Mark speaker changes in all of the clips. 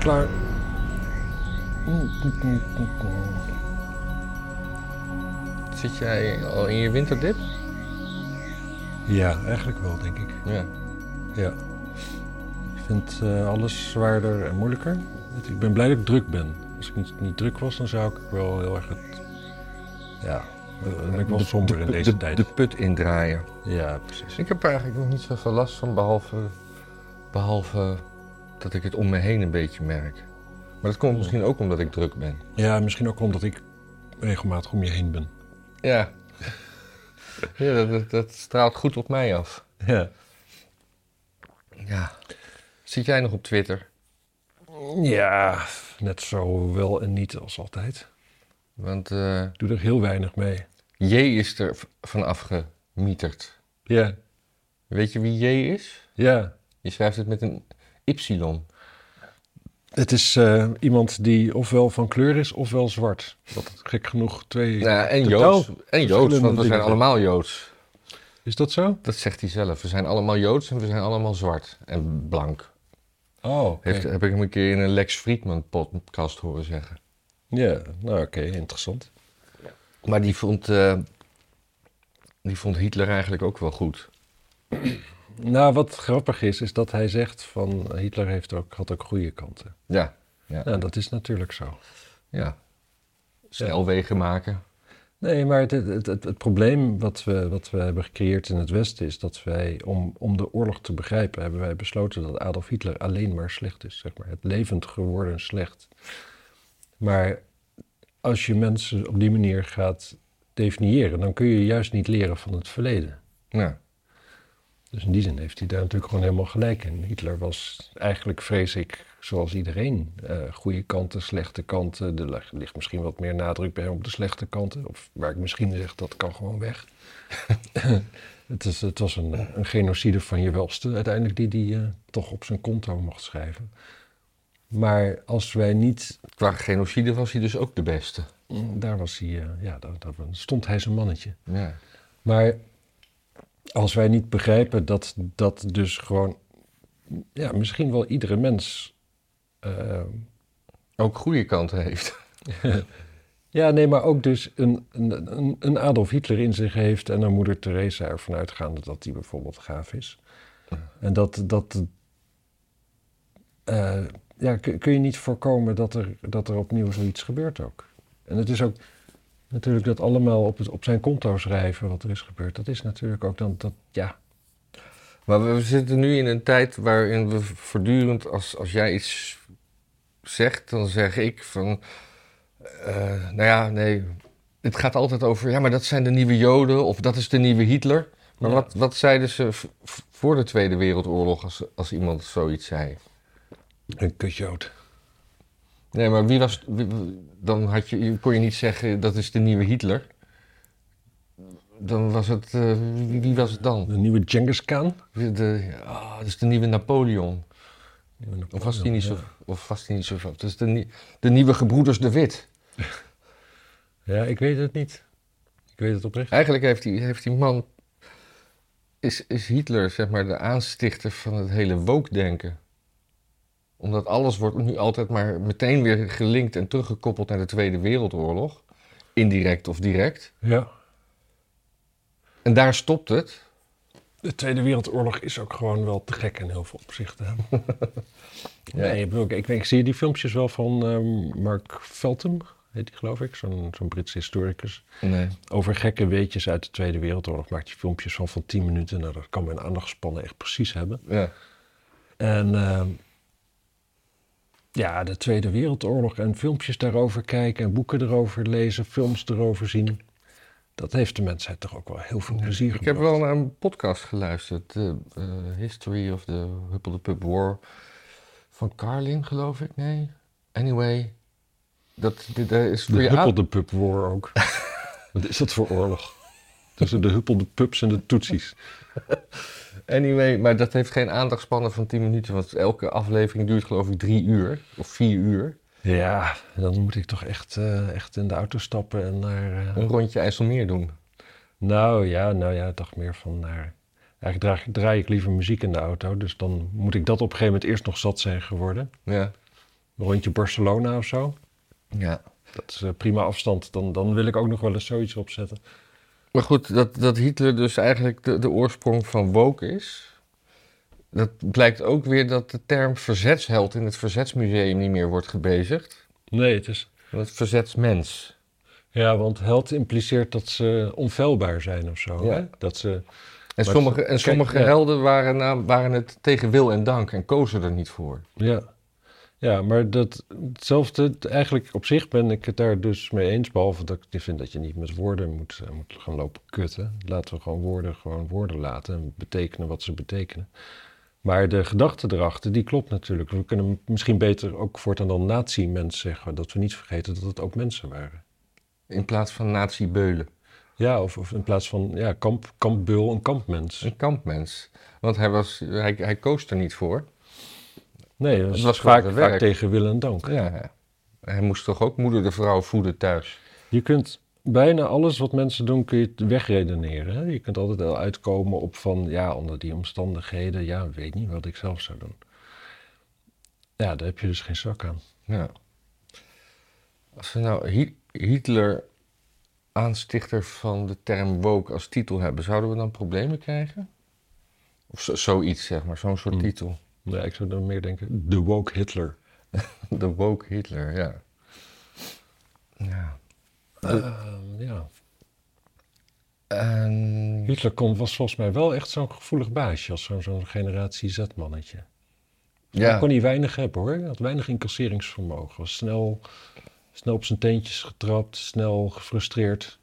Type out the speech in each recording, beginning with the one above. Speaker 1: klaar.
Speaker 2: Zit jij al in je winterdip?
Speaker 1: Ja, eigenlijk wel, denk ik.
Speaker 2: Ja.
Speaker 1: Ja. Ik vind eh, alles zwaarder en moeilijker. Het- Ik ben blij dat ik druk ben. Als ik niet, niet druk was, dan zou ik wel heel erg het... Ja, eh, dan ben ik wel somber in deze
Speaker 2: de,
Speaker 1: tijd.
Speaker 2: De put indraaien.
Speaker 1: Ja, precies.
Speaker 2: Dus Ik heb er eigenlijk nog niet zoveel last van, behalve, behalve dat ik het om me heen een beetje merk. Maar dat komt misschien ook omdat ik druk ben.
Speaker 1: Ja, misschien ook omdat ik regelmatig om je heen ben.
Speaker 2: Ja. ja dat, dat, dat straalt goed op mij af.
Speaker 1: Ja.
Speaker 2: Ja. Zit jij nog op Twitter?
Speaker 1: Ja, net zo wel en niet als altijd.
Speaker 2: Want eh,
Speaker 1: Ik doe er heel weinig mee.
Speaker 2: J is er v- van afgemieterd.
Speaker 1: Ja,
Speaker 2: Weet je wie J is?
Speaker 1: ja.
Speaker 2: Je schrijft het met een Y.
Speaker 1: Het is eh, iemand die ofwel van kleur is ofwel zwart. Wat gek genoeg twee.
Speaker 2: Ja, en
Speaker 1: totaal
Speaker 2: Joods. En Joods, want we
Speaker 1: verschillende
Speaker 2: zijn
Speaker 1: dingen.
Speaker 2: allemaal Joods.
Speaker 1: Is dat zo?
Speaker 2: Dat zegt hij zelf. We zijn allemaal Joods en we zijn allemaal zwart en blank.
Speaker 1: Oh, oké.
Speaker 2: Heeft, Heb ik hem een keer in een Lex Friedman podcast horen zeggen.
Speaker 1: ja. Nou, oké, interessant.
Speaker 2: Maar die vond, eh, die vond Hitler eigenlijk ook wel goed.
Speaker 1: Nou, wat grappig is, is dat hij zegt van Hitler heeft ook, had ook goede kanten.
Speaker 2: Ja, ja,
Speaker 1: Nou, dat is natuurlijk zo.
Speaker 2: ja. Snelwegen maken.
Speaker 1: Nee, maar het, het, het, het probleem wat we, wat we hebben gecreëerd in het Westen is dat wij, om, om de oorlog te begrijpen, hebben wij besloten dat Adolf Hitler alleen maar slecht is, zeg maar. Het levend geworden slecht. Maar als je mensen op die manier gaat definiëren, dan kun je juist niet leren van het verleden.
Speaker 2: Ja.
Speaker 1: Dus in die zin heeft hij daar natuurlijk gewoon helemaal gelijk in. Hitler was eigenlijk, vrees ik, zoals iedereen. eh, goede kanten, slechte kanten. Er lag- ligt misschien wat meer nadruk bij hem op de slechte kanten. Of waar ik misschien zeg, dat kan gewoon weg. het, is, het was een, een genocide van je welste uiteindelijk die, die hij toch op zijn konto mocht schrijven. Maar als wij niet...
Speaker 2: Qua genocide was hij dus ook de beste.
Speaker 1: Daar was hij... eh, ja, daar, daar stond hij zijn mannetje.
Speaker 2: Ja.
Speaker 1: Maar als wij niet begrijpen dat dat dus gewoon, ja, misschien wel iedere mens. eh,
Speaker 2: Ook goede kanten heeft.
Speaker 1: ja, nee, maar ook dus een, een, een- een Adolf Hitler in zich heeft en een moeder Teresa ervan uitgaande dat die bijvoorbeeld gaaf is. En dat, dat eh, ja, kun, kun je niet voorkomen dat er, dat er opnieuw zoiets gebeurt ook. En het is ook natuurlijk dat allemaal op, het, op zijn konto schrijven wat er is gebeurd. Dat is natuurlijk ook dan, dat, ja,
Speaker 2: Maar we, we zitten nu in een tijd waarin we voortdurend, als, als jij iets zegt, dan zeg ik van, eh, nou ja, nee, het gaat altijd over, ja, maar dat zijn de nieuwe Joden of dat is de nieuwe Hitler. Maar
Speaker 1: Ja.
Speaker 2: wat, wat zeiden ze v- v- voor de Tweede Wereldoorlog als, als iemand zoiets zei?
Speaker 1: Een kutjood.
Speaker 2: Nee, maar wie was, wie- wie- dan had je, kon je niet zeggen dat is de nieuwe Hitler. Dan was het, eh, wie, wie was het dan?
Speaker 1: De nieuwe Genghis Khan.
Speaker 2: De, ah, dat is de nieuwe Napoleon. Of was die niet zo?
Speaker 1: Ja.
Speaker 2: Of was die niet zo? Het is de, nie- de nieuwe gebroeders de Wit.
Speaker 1: Ja, ik weet het niet. Ik weet het oprecht.
Speaker 2: Eigenlijk heeft die, heeft die man. Is, is Hitler, zeg maar, de aanstichter van het hele woke-denken. Omdat alles wordt nu altijd maar meteen weer gelinkt en teruggekoppeld naar de Tweede Wereldoorlog. Indirect of direct.
Speaker 1: Ja.
Speaker 2: En daar stopt het.
Speaker 1: De Tweede Wereldoorlog is ook gewoon wel te gek in heel veel opzichten. Nee, ik, bedoel, ik, ik zie die filmpjes wel van ehm, Mark Feltham, heet die geloof ik, zo'n zo'n Britse historicus.
Speaker 2: Nee.
Speaker 1: Over gekke weetjes uit de Tweede Wereldoorlog maakt hij filmpjes van van 10 minuten. Nou, dat kan mijn aandachtspannen echt precies hebben.
Speaker 2: Ja.
Speaker 1: En ehm, ja, de Tweede Wereldoorlog en filmpjes daarover kijken en boeken erover lezen, films erover zien. Dat heeft de mensheid toch ook wel heel veel plezier
Speaker 2: Ik heb
Speaker 1: gebracht.
Speaker 2: wel naar een podcast geluisterd. De eh, History of the Huppel de Pub War. Van Carlin, geloof ik. Nee. Anyway. Dat, dit, eh, is voor
Speaker 1: De
Speaker 2: je aan-
Speaker 1: Huppel de Pup War ook. Wat is dat voor oorlog? Tussen de Huppel de Pups en de Toetsies.
Speaker 2: Anyway, maar dat heeft geen aandachtspannen van 10 minuten. Want elke aflevering duurt geloof ik drie uur. Of vier uur.
Speaker 1: Ja, dan moet ik toch echt, eh, echt in de auto stappen en naar... eh,
Speaker 2: Een rondje IJsselmeer doen.
Speaker 1: Nou ja, nou ja, ik dacht meer van naar... Eigenlijk draai, draai ik liever muziek in de auto, dus dan moet ik dat op een gegeven moment eerst nog zat zijn geworden.
Speaker 2: Ja.
Speaker 1: rondje Barcelona of zo.
Speaker 2: Ja.
Speaker 1: Dat is eh, prima afstand. Dan, dan wil ik ook nog wel eens zoiets opzetten.
Speaker 2: Maar goed, dat, dat Hitler dus eigenlijk de, de oorsprong van woke is. Dat blijkt ook weer dat de term verzetsheld in het verzetsmuseum niet meer wordt gebezigd.
Speaker 1: Nee, het is...
Speaker 2: maar Het verzetsmens.
Speaker 1: Ja, want held impliceert dat ze onfeilbaar zijn of zo.
Speaker 2: Ja.
Speaker 1: Hè? Dat ze...
Speaker 2: En
Speaker 1: Maar
Speaker 2: sommige,
Speaker 1: het-
Speaker 2: en sommige
Speaker 1: kijk, ja.
Speaker 2: helden waren, na- waren het tegen wil en dank en kozen er niet voor.
Speaker 1: Ja. Ja, maar dat, hetzelfde, eigenlijk op zich ben ik het daar dus mee eens. Behalve dat ik vind dat je niet met woorden moet, eh, moet gaan lopen kutten. Laten we gewoon woorden gewoon woorden laten en betekenen wat ze betekenen. Maar de gedachte erachter, die klopt natuurlijk. We kunnen misschien beter ook voortaan dan nazi-mens zeggen. Dat we niet vergeten dat het ook mensen waren.
Speaker 2: In plaats van nazi-beulen.
Speaker 1: Ja, of, of in plaats van ja, kamp, kampbeul en kampmens.
Speaker 2: Een kampmens. Want hij, was, hij, hij koos er niet voor.
Speaker 1: Nee, dat
Speaker 2: was
Speaker 1: was
Speaker 2: gewoon
Speaker 1: vaak,
Speaker 2: zijn
Speaker 1: vaak
Speaker 2: werk.
Speaker 1: tegen wil en dank.
Speaker 2: Ja. Hij moest toch ook moeder de vrouw voeden thuis.
Speaker 1: Je kunt bijna alles wat mensen doen, kun je het wegredeneren. Hè? Je kunt altijd wel uitkomen op van, ja, onder die omstandigheden, ja, ik weet niet wat ik zelf zou doen. Ja, daar heb je dus geen zak aan.
Speaker 2: Ja. Als we nou Hi- Hitler, aanstichter van de term woke als titel hebben, zouden we dan problemen krijgen? Of zo- zoiets, zeg maar, zo'n
Speaker 1: Hm.
Speaker 2: soort titel.
Speaker 1: Ja, ik zou dan meer denken, de woke Hitler.
Speaker 2: De woke Hitler, ja. Ja.
Speaker 1: Ehm, ja.
Speaker 2: En-
Speaker 1: Hitler kon, was volgens mij wel echt zo'n gevoelig baasje, als zo'n zo'n generatie Z-mannetje. Daar
Speaker 2: ja.
Speaker 1: kon hij weinig hebben hoor, hij had weinig incasseringsvermogen. Was snel, snel op zijn teentjes getrapt, snel gefrustreerd.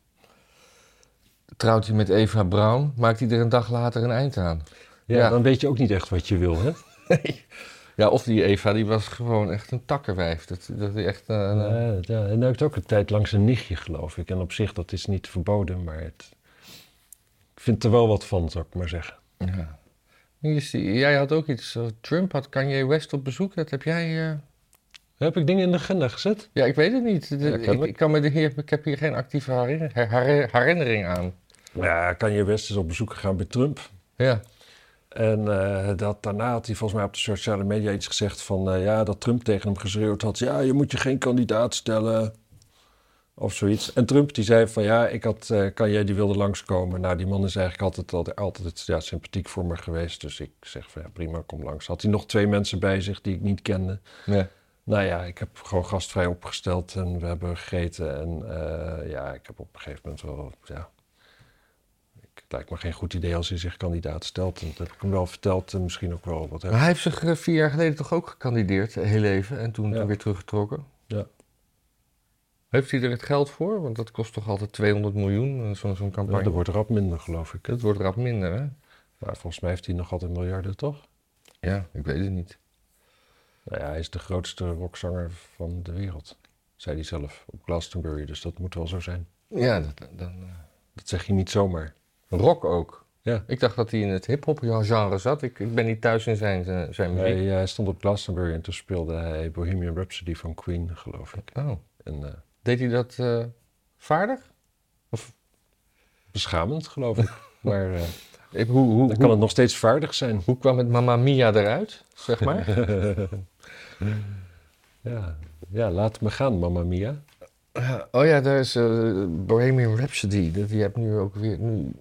Speaker 2: Trouwt hij met Eva Braun, maakt hij er een dag later een eind aan.
Speaker 1: Ja,
Speaker 2: Ja.
Speaker 1: dan weet je ook niet echt wat je wil hè.
Speaker 2: Ja, of die Eva, die was gewoon echt een takkenwijf. Dat, dat die echt, eh,
Speaker 1: Ja, ja, en hij heeft ook een tijd lang zijn nichtje, geloof ik. En op zich, dat is niet verboden, maar het... ik vind er wel wat van, zou ik maar zeggen.
Speaker 2: Ja. Nu is die- jij had ook iets. eh, Trump had Kanye West op bezoek. Dat heb jij. eh,
Speaker 1: Heb ik dingen in de agenda gezet?
Speaker 2: Ja, ik weet het niet. De- ik,
Speaker 1: kennelijk.
Speaker 2: ik, kan me de, hier, ik heb hier geen actieve herinner- her- her- herinnering aan.
Speaker 1: Ja, Kanye West is op bezoek gegaan bij Trump.
Speaker 2: Ja.
Speaker 1: En eh, dat, daarna had hij volgens mij op de sociale media iets gezegd van... eh, ja, dat Trump tegen hem geschreeuwd had. Ja, je moet je geen kandidaat stellen. Of zoiets. En Trump die zei van ja, ik had eh Kanye die wilde langskomen. Nou, die man is eigenlijk altijd, altijd, altijd ja, sympathiek voor me geweest. Dus ik zeg van ja, prima, kom langs. Had hij nog twee mensen bij zich die ik niet kende.
Speaker 2: ja.
Speaker 1: Nou ja, ik heb gewoon gastvrij opgesteld en we hebben gegeten. En eh, ja, ik heb op een gegeven moment wel, ja... ik- Het lijkt me geen goed idee als hij zich kandidaat stelt. En dat heb ik hem wel verteld en misschien ook wel wat. Heb.
Speaker 2: Maar hij heeft zich eh, vier jaar geleden toch ook gekandideerd, eh, heel even. En toen
Speaker 1: Ja.
Speaker 2: weer teruggetrokken.
Speaker 1: Ja.
Speaker 2: Heeft hij er het geld voor? Want dat kost toch altijd 200 miljoen, eh, zo'n zo'n campagne.
Speaker 1: Nou, er wordt rap minder, geloof ik.
Speaker 2: Dat wordt rap minder, hè?
Speaker 1: Maar volgens mij heeft hij nog altijd miljarden, toch?
Speaker 2: Ja, ik weet het niet.
Speaker 1: Nou ja, hij is de grootste rockzanger van de wereld, zei hij zelf op Glastonbury. Dus dat moet wel zo zijn.
Speaker 2: Ja, dat, dan, eh,
Speaker 1: Dat zeg je niet zomaar.
Speaker 2: rock ook.
Speaker 1: Ja.
Speaker 2: Ik dacht dat hij in het hip-hop genre zat. Ik, ik ben niet thuis in zijn, zijn, zijn muziek.
Speaker 1: Hij, eh, hij stond op Glastonbury en toen speelde hij Bohemian Rhapsody van Queen, geloof ik.
Speaker 2: Oh.
Speaker 1: En eh,
Speaker 2: Deed hij dat eh, vaardig?
Speaker 1: beschamend, geloof ik. Maar eh,
Speaker 2: Ik- hoe, hoe,
Speaker 1: dan kan
Speaker 2: hoe,
Speaker 1: het nog steeds vaardig zijn.
Speaker 2: hoe kwam het Mamma Mia eruit, zeg maar?
Speaker 1: Ja, ja laat me gaan, mamma mia.
Speaker 2: oh ja, daar is eh, Bohemian Rhapsody. Dat- Je hebt nu ook weer nu,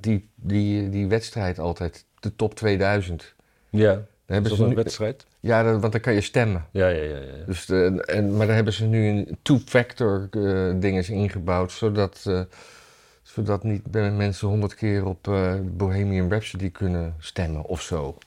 Speaker 2: die, die, die wedstrijd altijd, de top 2000.
Speaker 1: Ja,
Speaker 2: Daar hebben
Speaker 1: is dat
Speaker 2: ze
Speaker 1: een
Speaker 2: nu-
Speaker 1: wedstrijd?
Speaker 2: Ja, dat- want dan kan je stemmen.
Speaker 1: Ja, ja, ja. ja.
Speaker 2: Dus de, en, maar daar hebben ze nu een two-factor eh dinges ingebouwd, zodat, eh, zodat niet bij mensen honderd keer op eh, Bohemian Rhapsody kunnen stemmen of zo.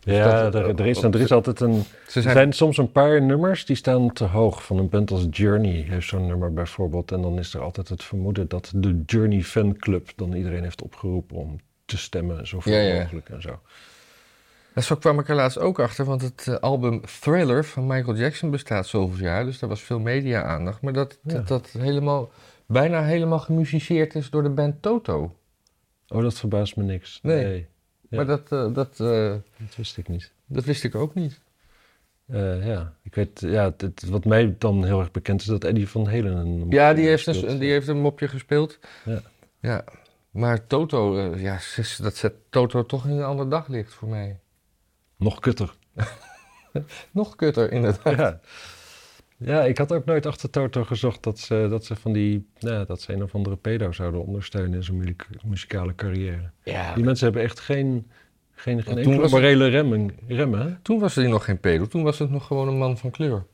Speaker 1: Ja,
Speaker 2: dat-
Speaker 1: er, er, is, er is altijd een...
Speaker 2: Ze
Speaker 1: Er zijn soms een paar nummers die staan te hoog. Van een band als Journey heeft zo'n nummer bijvoorbeeld. En dan is er altijd het vermoeden dat de Journey fanclub dan iedereen heeft opgeroepen om te stemmen zoveel
Speaker 2: Ja, ja.
Speaker 1: mogelijk en zo.
Speaker 2: En zo kwam ik er laatst ook achter, want het eh, album Thriller van Michael Jackson bestaat zoveel jaar, dus daar was veel media-aandacht. Maar dat,
Speaker 1: Ja.
Speaker 2: dat, dat helemaal, bijna helemaal gemusiceerd is door de band Toto.
Speaker 1: Oh, dat verbaast me niks.
Speaker 2: Nee.
Speaker 1: Nee, Ja.
Speaker 2: Maar dat, eh, dat, eh,
Speaker 1: dat wist ik niet.
Speaker 2: dat wist ik ook niet.
Speaker 1: Eh, ja, ik weet, ja, het- het- wat mij dan heel erg bekend is dat Eddie van Helen een mopje
Speaker 2: Ja, die heeft, dus
Speaker 1: speelt.
Speaker 2: een, die heeft een mopje gespeeld.
Speaker 1: Ja.
Speaker 2: Ja. Maar Toto, eh, ja, zus, dat zet Toto toch in een ander daglicht voor mij.
Speaker 1: Nog kutter.
Speaker 2: Nog kutter, inderdaad.
Speaker 1: Ja. ja, ik had ook nooit achter Toto gezocht dat ze, dat ze van die, nou, dat ze een of andere pedo zouden ondersteunen in zijn mu- muzikale carrière.
Speaker 2: Ja,
Speaker 1: Die mensen hebben echt geen, geen, geen
Speaker 2: toen
Speaker 1: enkele
Speaker 2: was het-
Speaker 1: morele remmen, remmen. hè?
Speaker 2: toen was hij nog geen pedo. Toen was het nog gewoon een man van kleur.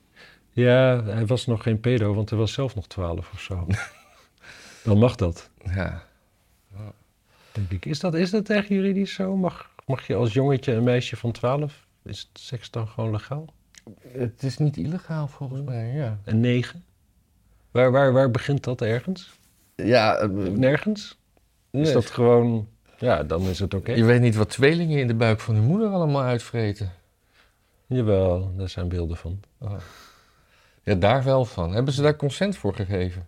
Speaker 1: Ja, hij was nog geen pedo, want hij was zelf nog twaalf of zo. Dan mag dat,
Speaker 2: Ja.
Speaker 1: denk ik. Is dat, is dat echt juridisch zo? Mag, mag je als jongetje een meisje van twaalf, is het seks dan gewoon legaal?
Speaker 2: Het is niet illegaal volgens mij, ja.
Speaker 1: En negen? Waar, waar, waar begint dat ergens?
Speaker 2: Ja, eh,
Speaker 1: Nergens? Is
Speaker 2: nee.
Speaker 1: dat gewoon... Ja, dan is het oké.
Speaker 2: je weet niet wat tweelingen in de buik van hun moeder allemaal uitvreten.
Speaker 1: Jawel, daar zijn beelden van.
Speaker 2: Ja, daar wel van. Hebben ze daar consent voor gegeven?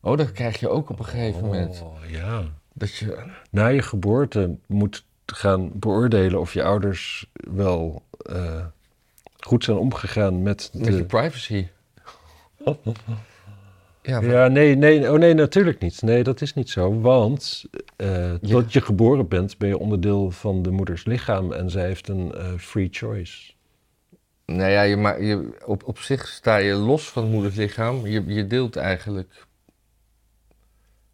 Speaker 2: Oh, dat krijg je ook op een
Speaker 1: Oh.
Speaker 2: gegeven moment.
Speaker 1: ja.
Speaker 2: Dat je...
Speaker 1: Na je geboorte moet gaan beoordelen of je ouders wel eh, goed zijn omgegaan met
Speaker 2: Met je
Speaker 1: de...
Speaker 2: privacy. Ja,
Speaker 1: Ja, nee, nee, oh nee, natuurlijk niet. Nee, dat is niet zo. Want eh dat je geboren bent, ben je onderdeel van de moeders lichaam en zij heeft een eh, free choice.
Speaker 2: Nou ja, je, ma- je, op, op zich sta je los van het moeders lichaam. Je, je deelt eigenlijk.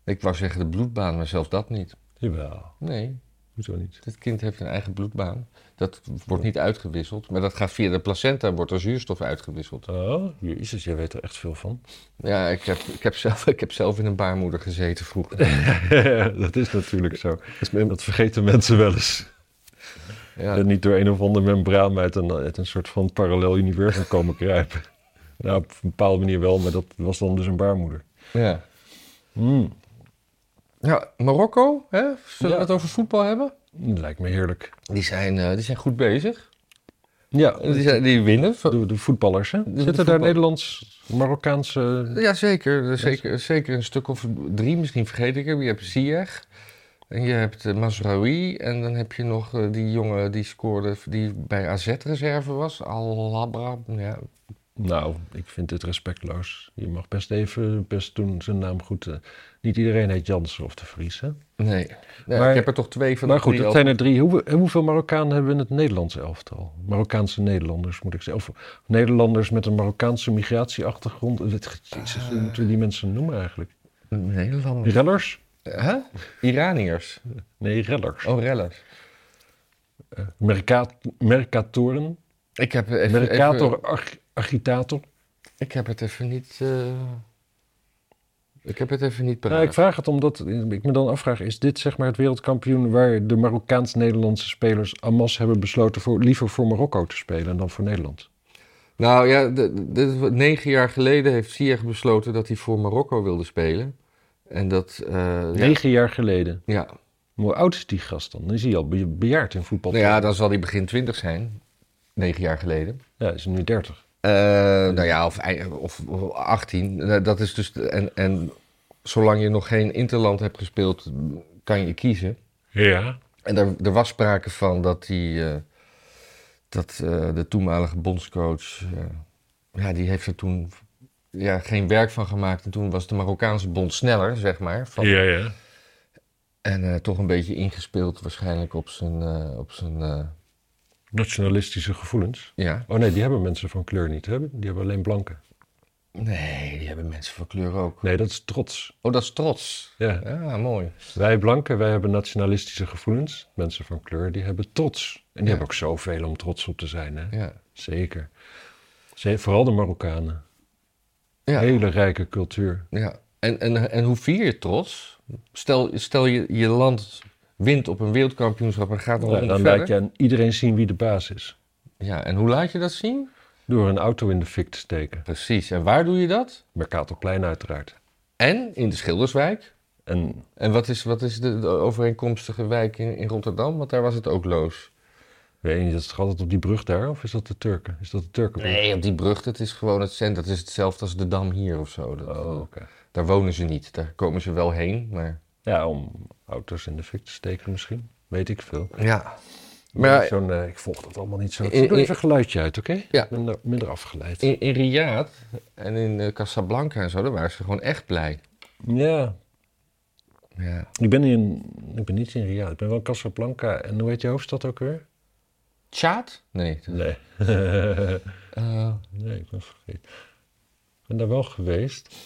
Speaker 2: Ik wou zeggen de bloedbaan, maar zelfs dat niet.
Speaker 1: Jawel,
Speaker 2: Nee,
Speaker 1: hoezo niet?
Speaker 2: dit kind heeft een eigen bloedbaan. Dat wordt niet uitgewisseld, maar dat gaat via de placenta, wordt er zuurstof uitgewisseld.
Speaker 1: Oh, jezus, jij weet er echt veel van.
Speaker 2: Ja, ik heb, ik heb, zelf, ik heb zelf in een baarmoeder gezeten vroeger.
Speaker 1: dat is natuurlijk zo. Dat vergeten mensen wel eens.
Speaker 2: Ja,
Speaker 1: En niet door een of ander membraan uit een, uit een soort van parallel universum komen kruipen. Nou, op een bepaalde manier wel, maar dat was dan dus een baarmoeder. Hmm,
Speaker 2: ja. ja Marokko, hè? zullen
Speaker 1: Ja.
Speaker 2: we het over voetbal hebben?
Speaker 1: Lijkt me heerlijk.
Speaker 2: Die zijn, eh, die zijn goed bezig.
Speaker 1: Ja,
Speaker 2: Die, zijn, die winnen.
Speaker 1: de, de voetballers, hè? Zitten daar
Speaker 2: Oh. voetbal-
Speaker 1: Nederlands-Marokkaanse...
Speaker 2: Ja, zeker. Er Zeker, zeker een stuk of drie, misschien vergeet ik hem. Je hebt Ziyech. En je hebt eh, Mazraoui. En dan heb je nog eh, die jongen die scoorde, die bij AZ-reserve was. Alabra. Ja.
Speaker 1: Nou, ik vind dit respectloos. Je mag best even best doen zijn naam goed. eh, Niet iedereen heet Jansen of de Vries, hè?
Speaker 2: Nee. Nee,
Speaker 1: Maar-
Speaker 2: ik heb er toch twee van
Speaker 1: Maar
Speaker 2: de
Speaker 1: goed,
Speaker 2: drie
Speaker 1: dat
Speaker 2: al-
Speaker 1: zijn er drie. Hoe, en hoeveel Marokkanen hebben we in het Nederlandse elftal? Marokkaanse Nederlanders, moet ik zeggen. Of Nederlanders met een Marokkaanse migratieachtergrond. Het- Jezus, hoe moeten we die mensen noemen eigenlijk?
Speaker 2: Nederlanders.
Speaker 1: Rellers?
Speaker 2: Huh? Iraniërs.
Speaker 1: Nee, rellers.
Speaker 2: Oh, rellers.
Speaker 1: Merca- mercatoren?
Speaker 2: Ik heb, even,
Speaker 1: Mercator,
Speaker 2: even-
Speaker 1: ag- agitator?
Speaker 2: ik heb het even niet... eh, ik heb het even niet
Speaker 1: Nou, ik
Speaker 2: paraat.
Speaker 1: vraag het omdat eh, ik me dan afvraag, is dit zeg maar het wereldkampioen waar de Marokkaans-Nederlandse spelers Amas hebben besloten voor, liever voor Marokko te spelen dan voor Nederland?
Speaker 2: Nou ja, de- de- dit is wat- negen jaar geleden heeft Ziyech besloten dat hij voor Marokko wilde spelen. En dat... eh,
Speaker 1: Negen jaar geleden.
Speaker 2: Ja. ja.
Speaker 1: Hoe oud is die gast dan? Dan is hij al be- bejaard in voetbal.
Speaker 2: Nou ja, dan zal hij begin twintig zijn. Negen jaar geleden.
Speaker 1: Ja, is nu 30.
Speaker 2: Eh, nou ja, of, ei- of, of 18. Nou, Dat is dus... En, en zolang je nog geen interland hebt gespeeld, kan je kiezen.
Speaker 1: Ja.
Speaker 2: En er, er was sprake van dat hij... eh, dat eh, de toenmalige bondscoach... eh, ja, die heeft er toen... Ja, geen werk van gemaakt. En toen was de Marokkaanse bond sneller, zeg maar. Van,
Speaker 1: ja.
Speaker 2: En eh, toch een beetje ingespeeld waarschijnlijk op zijn... eh, op zijn eh,
Speaker 1: Nationalistische gevoelens.
Speaker 2: ja.
Speaker 1: Oh nee, die hebben mensen van kleur niet. Hè? Die hebben alleen blanken.
Speaker 2: Nee, die hebben mensen van kleur ook.
Speaker 1: Nee, dat is trots.
Speaker 2: Oh, dat is trots.
Speaker 1: Ja.
Speaker 2: Ja, mooi.
Speaker 1: Wij blanken, wij hebben nationalistische gevoelens. Mensen van kleur, die hebben trots. En die hebben ook zoveel om trots op te zijn. Hè?
Speaker 2: Ja.
Speaker 1: Zeker. Ze- Vooral de Marokkanen.
Speaker 2: Ja.
Speaker 1: Hele rijke cultuur.
Speaker 2: ja. En, en, en hoe vier je trots? Stel, stel je, je land wint op een wereldkampioenschap en gaat nog
Speaker 1: Ja,
Speaker 2: een
Speaker 1: dan
Speaker 2: verder.
Speaker 1: laat je aan iedereen zien wie de baas is.
Speaker 2: Ja, en hoe laat je dat zien?
Speaker 1: Door een auto in de fik te steken.
Speaker 2: Precies. En waar doe je dat?
Speaker 1: Mercatorplein uiteraard.
Speaker 2: En in de Schilderswijk.
Speaker 1: En
Speaker 2: En wat is, wat is de, de overeenkomstige wijk in, in Rotterdam? Want daar was het ook loos.
Speaker 1: weet je niet, dat is toch altijd op die brug daar? Of is dat de Turken? Is dat de Turkenbrug?
Speaker 2: Nee, op die brug, dat is gewoon het centrum. Dat is hetzelfde als de Dam hier of zo. Dat-
Speaker 1: Oh, oké.
Speaker 2: Daar wonen ze niet. Daar komen ze wel heen, maar...
Speaker 1: Ja, om auto's in de fik te steken misschien. Weet ik veel.
Speaker 2: Ja.
Speaker 1: Maar
Speaker 2: Maar
Speaker 1: zo'n, eh, ik volg dat allemaal niet zo.
Speaker 2: Eh,
Speaker 1: Doe
Speaker 2: eh,
Speaker 1: even een geluidje uit, oké?
Speaker 2: Ja.
Speaker 1: Ik ben daar minder afgeleid.
Speaker 2: in, in Riyadh en in eh, Casablanca en zo, daar waren ze gewoon echt blij.
Speaker 1: Ja,
Speaker 2: Ja.
Speaker 1: ik ben, in, ik ben niet in Riyadh. Ik ben wel in Casablanca. En hoe heet je hoofdstad ook weer?
Speaker 2: Tjaat? Nee.
Speaker 1: Nee.
Speaker 2: Eh,
Speaker 1: nee, ik was vergeten. Ik ben daar wel geweest.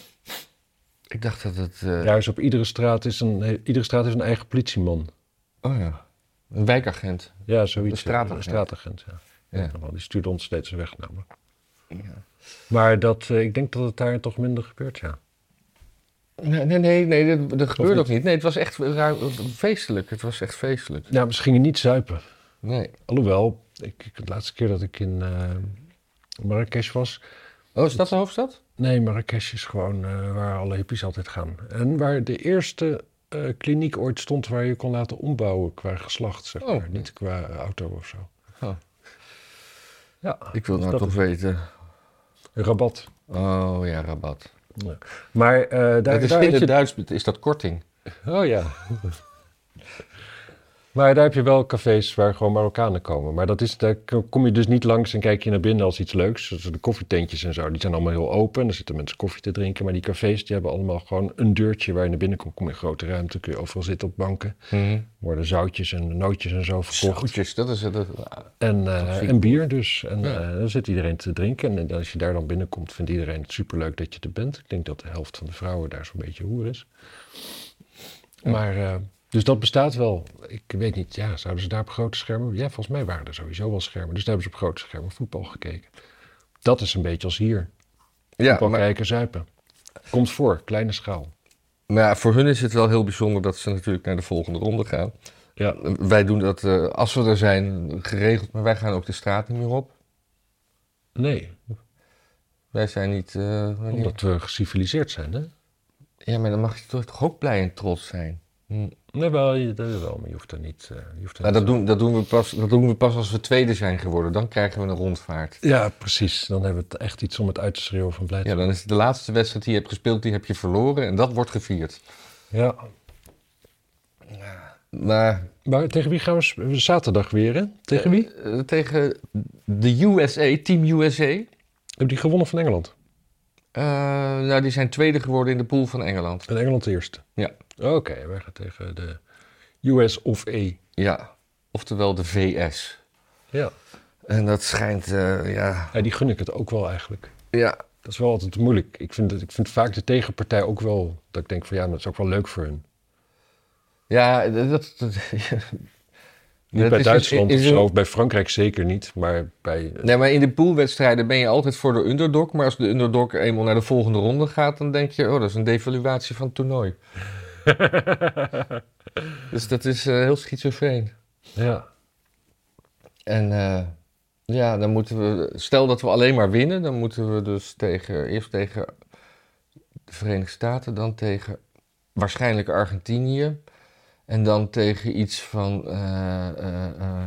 Speaker 2: ik dacht dat het... eh,
Speaker 1: Daar is op iedere straat is een, he- iedere straat is een eigen politieman.
Speaker 2: Oh ja, een wijkagent.
Speaker 1: Ja, zoiets.
Speaker 2: Een straatagent.
Speaker 1: Een straatagent, ja.
Speaker 2: Ja.
Speaker 1: Nou, Die stuurde ons steeds weg namelijk. Maar dat, eh, ik denk dat het daar toch minder gebeurt, ja.
Speaker 2: Nee, nee, nee, nee dat, dat gebeurde
Speaker 1: niet?
Speaker 2: ook niet. Nee, het was echt raar- feestelijk. Het was echt feestelijk.
Speaker 1: Nou, we gingen niet zuipen.
Speaker 2: Nee.
Speaker 1: Alhoewel, ik, ik- de laatste keer dat ik in eh, Marrakesh was...
Speaker 2: Oh, is dat de hoofdstad?
Speaker 1: Nee, Marrakesh is gewoon eh, waar alle hippies altijd gaan. En waar de eerste eh, kliniek ooit stond waar je kon laten ombouwen qua geslacht, zeg
Speaker 2: Oh.
Speaker 1: maar. Niet qua eh, auto of zo.
Speaker 2: Oh.
Speaker 1: Ja,
Speaker 2: Ik wil
Speaker 1: Dus
Speaker 2: nou
Speaker 1: dat
Speaker 2: toch weten.
Speaker 1: rabat.
Speaker 2: Oh ja, rabat.
Speaker 1: Ja. Maar eh daar,
Speaker 2: dat is
Speaker 1: daar
Speaker 2: in
Speaker 1: heb
Speaker 2: het
Speaker 1: je...
Speaker 2: Duits is dat korting.
Speaker 1: Oh ja. maar daar heb je wel cafés waar gewoon Marokkanen komen. Maar dat is, daar k- kom je dus niet langs en kijk je naar binnen als iets leuks. Dus de koffietentjes en zo, die zijn allemaal heel open. Er zitten mensen koffie te drinken. Maar die cafés die hebben allemaal gewoon een deurtje waar je naar binnen komt. Kom in grote ruimte, kun je overal zitten op banken. Worden zoutjes en nootjes en zo verkocht.
Speaker 2: Zoetjes, dat is het. dat-
Speaker 1: En, eh,
Speaker 2: vind ik
Speaker 1: en bier dus. En
Speaker 2: Ja.
Speaker 1: eh, dan zit iedereen te drinken. En eh, als je daar dan binnenkomt, vindt iedereen het superleuk dat je er bent. Ik denk dat de helft van de vrouwen daar zo'n beetje hoer is. Maar, eh, dus dat bestaat wel. Ik weet niet, ja, zouden ze daar op grote schermen... Ja, volgens mij waren er sowieso wel schermen. Dus daar hebben ze op grote schermen voetbal gekeken. Dat is een beetje als hier.
Speaker 2: Ja,
Speaker 1: Voetbal
Speaker 2: maar,
Speaker 1: kijken, zuipen. Komt voor, kleine schaal.
Speaker 2: maar ja, voor hun is het wel heel bijzonder dat ze natuurlijk naar de volgende ronde gaan.
Speaker 1: Ja,
Speaker 2: Wij doen dat eh, als we er zijn geregeld, maar wij gaan ook de straat niet meer op.
Speaker 1: nee,
Speaker 2: Wij zijn niet. eh, wanneer-
Speaker 1: omdat we geciviliseerd zijn, hè?
Speaker 2: Ja, maar dan mag je toch toch ook blij en trots zijn. Hm.
Speaker 1: Nee, wel, je, dat wel, maar je hoeft er niet... eh, je hoeft er
Speaker 2: Nou,
Speaker 1: niet
Speaker 2: dat, doen, dat, doen we pas, dat doen we pas als we tweede zijn geworden. Dan krijgen we een rondvaart.
Speaker 1: Ja, precies. Dan hebben we het echt iets om het uit te schreeuwen van
Speaker 2: Ja,
Speaker 1: blijdschap.
Speaker 2: dan is het de laatste wedstrijd die je hebt gespeeld, die heb je verloren. En dat wordt gevierd.
Speaker 1: Ja.
Speaker 2: Maar
Speaker 1: Maar tegen wie gaan we sp- zaterdag weer, hè? Tegen wie?
Speaker 2: eh, tegen de USA, Team USA.
Speaker 1: Hebben die gewonnen van Engeland?
Speaker 2: Eh, nou, die zijn tweede geworden in de pool van Engeland.
Speaker 1: En Engeland eerst.
Speaker 2: Ja.
Speaker 1: Oké, wij gaan tegen de US of E.
Speaker 2: Ja, oftewel de VS.
Speaker 1: Ja.
Speaker 2: En dat schijnt, eh, ja,
Speaker 1: ja, die gun ik het ook wel eigenlijk.
Speaker 2: ja,
Speaker 1: Dat is wel altijd moeilijk. Ik vind, het, ik vind vaak de tegenpartij ook wel... dat ik denk van ja, dat is ook wel leuk voor hun.
Speaker 2: ja, dat, dat, dat
Speaker 1: Niet bij
Speaker 2: is-
Speaker 1: Duitsland
Speaker 2: is-
Speaker 1: of
Speaker 2: is-
Speaker 1: zo, of bij Frankrijk zeker niet. Maar bij...
Speaker 2: Nee, maar in de poolwedstrijden ben je altijd voor de underdog. Maar als de underdog eenmaal naar de volgende ronde gaat, dan denk je, oh, dat is een devaluatie van het toernooi. dus dat is eh, heel schizofreen.
Speaker 1: Ja.
Speaker 2: En eh, ja, dan moeten we, stel dat we alleen maar winnen, dan moeten we dus tegen, eerst tegen de Verenigde Staten, dan tegen waarschijnlijk Argentinië. En dan tegen iets van eh, eh, eh,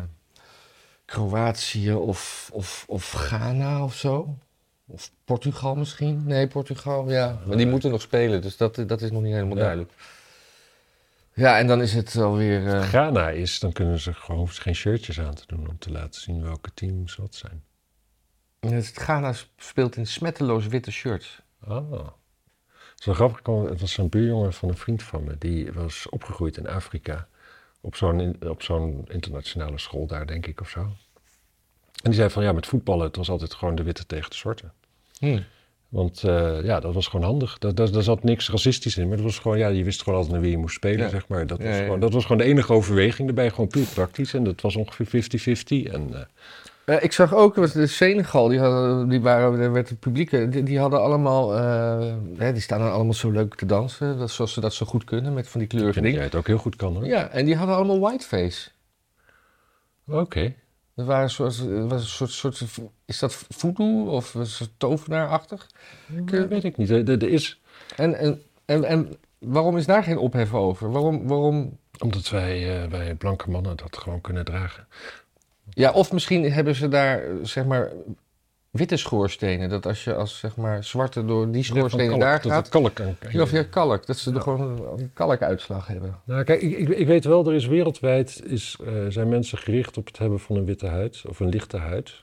Speaker 2: Kroatië of, of, of Ghana of zo. Of Portugal misschien? Nee, Portugal, ja. Maar die moeten nog spelen, dus dat, dat is nog niet helemaal
Speaker 1: Ja.
Speaker 2: duidelijk. Ja, en dan is het alweer... eh,
Speaker 1: Ghana is, dan kunnen ze gewoon hoeven ze geen shirtjes aan te doen... om te laten zien welke teams wat zijn.
Speaker 2: Het Ghana speelt in smetteloos witte shirts.
Speaker 1: Ah. Dat is wel grappig, want het was een buurjongen van een vriend van me. Die was opgegroeid in Afrika. Op zo'n, in- op zo'n internationale school daar, denk ik, of zo. En die zei van, ja, met voetballen, het was altijd gewoon de witte tegen de zwarte. Hmm. Want eh, ja, dat was gewoon handig. Daar, daar, daar zat niks racistisch in. Maar dat was gewoon, ja, je wist gewoon altijd naar wie je moest spelen,
Speaker 2: Ja.
Speaker 1: zeg maar. Dat was,
Speaker 2: Ja, ja.
Speaker 1: Gewoon, dat was gewoon de enige overweging erbij. Gewoon puur praktisch. En dat was ongeveer 50-50. En eh,
Speaker 2: Eh, ik zag ook, want de Senegal, die, hadden, die waren, er werd het publiek, eh, die, die hadden allemaal, eh, hè, die staan dan allemaal zo leuk te dansen, dat, zoals ze dat zo goed kunnen, met van die
Speaker 1: ik
Speaker 2: kleurige
Speaker 1: vind dat jij
Speaker 2: dingen.
Speaker 1: het ook heel goed kan, hoor.
Speaker 2: Ja, en die hadden allemaal whiteface.
Speaker 1: Oké.
Speaker 2: Dat waren een soort, eh, was een soort, soort, is dat voodoo of een soort tovenaarachtig?
Speaker 1: Dat weet ik niet. Er er- er is...
Speaker 2: En, en, en, en waarom is daar geen ophef over? Waarom, waarom,
Speaker 1: Omdat wij, eh wij blanke mannen dat gewoon kunnen dragen.
Speaker 2: ja, of misschien hebben ze daar, eh, zeg maar, witte schoorstenen, dat als je als, zeg maar, zwarte door die schoorstenen
Speaker 1: Van
Speaker 2: daar
Speaker 1: kalk, dat
Speaker 2: gaat,
Speaker 1: het kalk aan-
Speaker 2: Ja, of ja, kalk. Dat ze er gewoon een kalkuitslag hebben.
Speaker 1: Nou, kijk, ik, ik, ik weet wel, er is wereldwijd is, eh, zijn mensen gericht op het hebben van een witte huid of een lichte huid.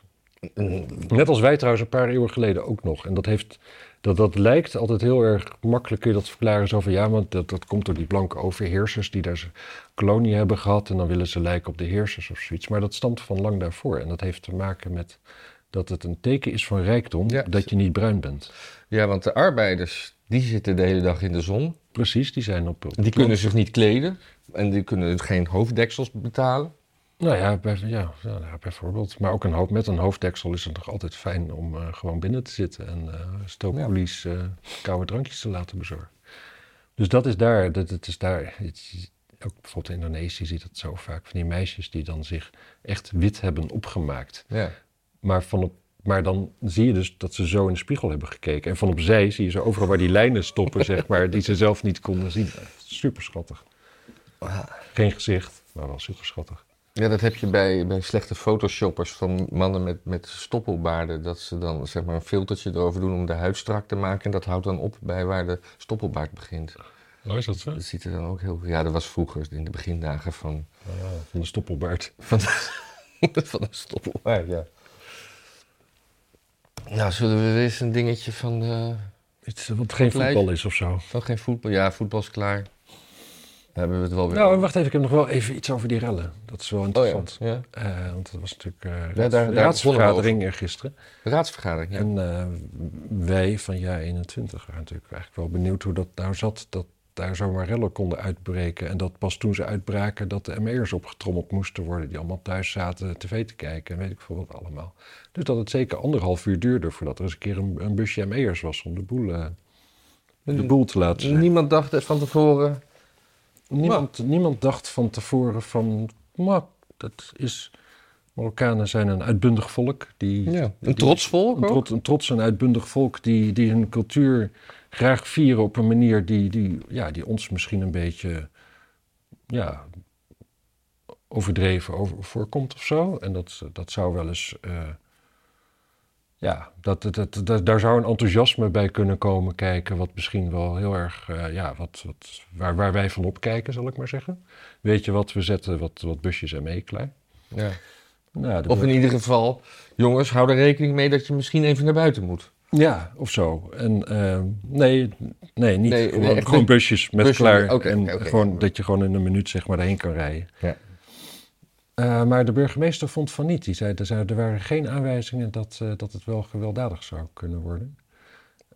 Speaker 2: een-
Speaker 1: Net als wij trouwens een paar eeuwen geleden ook nog. En dat, heeft, dat, dat lijkt altijd heel erg makkelijk, kun je dat verklaren zo van ja, want dat, dat komt door die blanke overheersers die daar ze- kolonie hebben gehad en dan willen ze lijken op de heersers of zoiets. Maar dat stamt van lang daarvoor en dat heeft te maken met dat het een teken is van rijkdom
Speaker 2: Ja.
Speaker 1: dat je niet bruin bent.
Speaker 2: ja, want de arbeiders, die zitten de hele dag in de zon.
Speaker 1: Precies, die zijn op... op
Speaker 2: Die kunnen zich niet kleden en die kunnen dus geen hoofddeksels betalen.
Speaker 1: Nou ja, bij, ja, ja, nou, bijvoorbeeld. Maar ook een hoofd, met een hoofddeksel is het nog altijd fijn om eh, gewoon binnen te zitten en eh stookkoelies eh, koude drankjes te laten bezorgen. Dus dat is daar, dat, het is daar. het- ook bijvoorbeeld in Indonesië zie je dat zo vaak. Van die meisjes die dan zich echt wit hebben opgemaakt.
Speaker 2: Ja.
Speaker 1: Maar, van op, maar dan zie je dus dat ze zo in de spiegel hebben gekeken. En van opzij zie je ze overal waar die lijnen stoppen, zeg maar, die ze zelf niet konden zien. Super schattig. Geen gezicht, maar wel super schattig.
Speaker 2: Ja, dat heb je bij, bij slechte photoshoppers van mannen met, met stoppelbaarden. Dat ze dan zeg maar een filtertje erover doen om de huid strak te maken. En dat houdt dan op bij waar de stoppelbaard begint.
Speaker 1: Oh, is dat zo?
Speaker 2: Dat ziet er dan ook heel... Ja, dat was vroeger in de begindagen van,
Speaker 1: Van de stoppelbaard.
Speaker 2: van, van een stoppelbaard, ja. Nou, zullen we weer eens een dingetje van... eh,
Speaker 1: Iets wat geen
Speaker 2: Gelijk.
Speaker 1: voetbal is of zo.
Speaker 2: van geen voetbal... Ja, voetbal is klaar. Dan hebben we het wel weer...
Speaker 1: Nou, en wacht even. Ik heb nog wel even iets over die rellen. Dat is wel
Speaker 2: oh ja,
Speaker 1: interessant.
Speaker 2: ja.
Speaker 1: Eh, want dat was natuurlijk eh
Speaker 2: daar- daar
Speaker 1: de raadsvergadering er gisteren.
Speaker 2: Raadsvergadering, ja.
Speaker 1: En eh, wij van JA21 waren natuurlijk eigenlijk wel benieuwd hoe dat nou zat. Dat daar zomaar rellen konden uitbreken. En dat pas toen ze uitbraken dat de ME'ers opgetrommeld moesten worden. Die allemaal thuis zaten tv te kijken en weet ik veel wat allemaal. Dus dat het zeker anderhalf uur duurde voordat er eens een keer een, een busje ME'ers was om de boel, eh, de boel te laten zien.
Speaker 2: Niemand dacht het van tevoren...
Speaker 1: Niemand, niemand dacht van tevoren van, maar dat is... Marokkanen zijn een uitbundig volk. Die,
Speaker 2: Ja,
Speaker 1: die-
Speaker 2: een trots volk
Speaker 1: een,
Speaker 2: ook.
Speaker 1: trots, een trots en uitbundig volk die, die hun cultuur graag vieren op een manier die, die, ja, die ons misschien een beetje ja, overdreven over, voorkomt of zo. En dat, dat zou wel eens. eh, ja, dat, dat, dat, dat- daar zou een enthousiasme bij kunnen komen kijken, wat misschien wel heel erg, eh, ja, wat, wat, waar, waar wij van opkijken, zal ik maar zeggen. Weet je wat, we zetten wat, wat busjes en mee klaar.
Speaker 2: Ja.
Speaker 1: Nou, de
Speaker 2: Of in ieder geval, jongens, hou er rekening mee dat je misschien even naar buiten moet.
Speaker 1: Ja, of zo. En eh, nee, nee, niet.
Speaker 2: Nee,
Speaker 1: gewoon,
Speaker 2: nee, echt
Speaker 1: gewoon
Speaker 2: niet.
Speaker 1: busjes met
Speaker 2: Busjes,
Speaker 1: klaar.
Speaker 2: oké,
Speaker 1: en
Speaker 2: oké, oké.
Speaker 1: Gewoon, dat je gewoon in een minuut zeg maar daarheen kan rijden.
Speaker 2: Ja.
Speaker 1: Eh, maar de burgemeester vond van niet. Die zei, er, zou- er waren geen aanwijzingen dat, eh, dat het wel gewelddadig zou kunnen worden.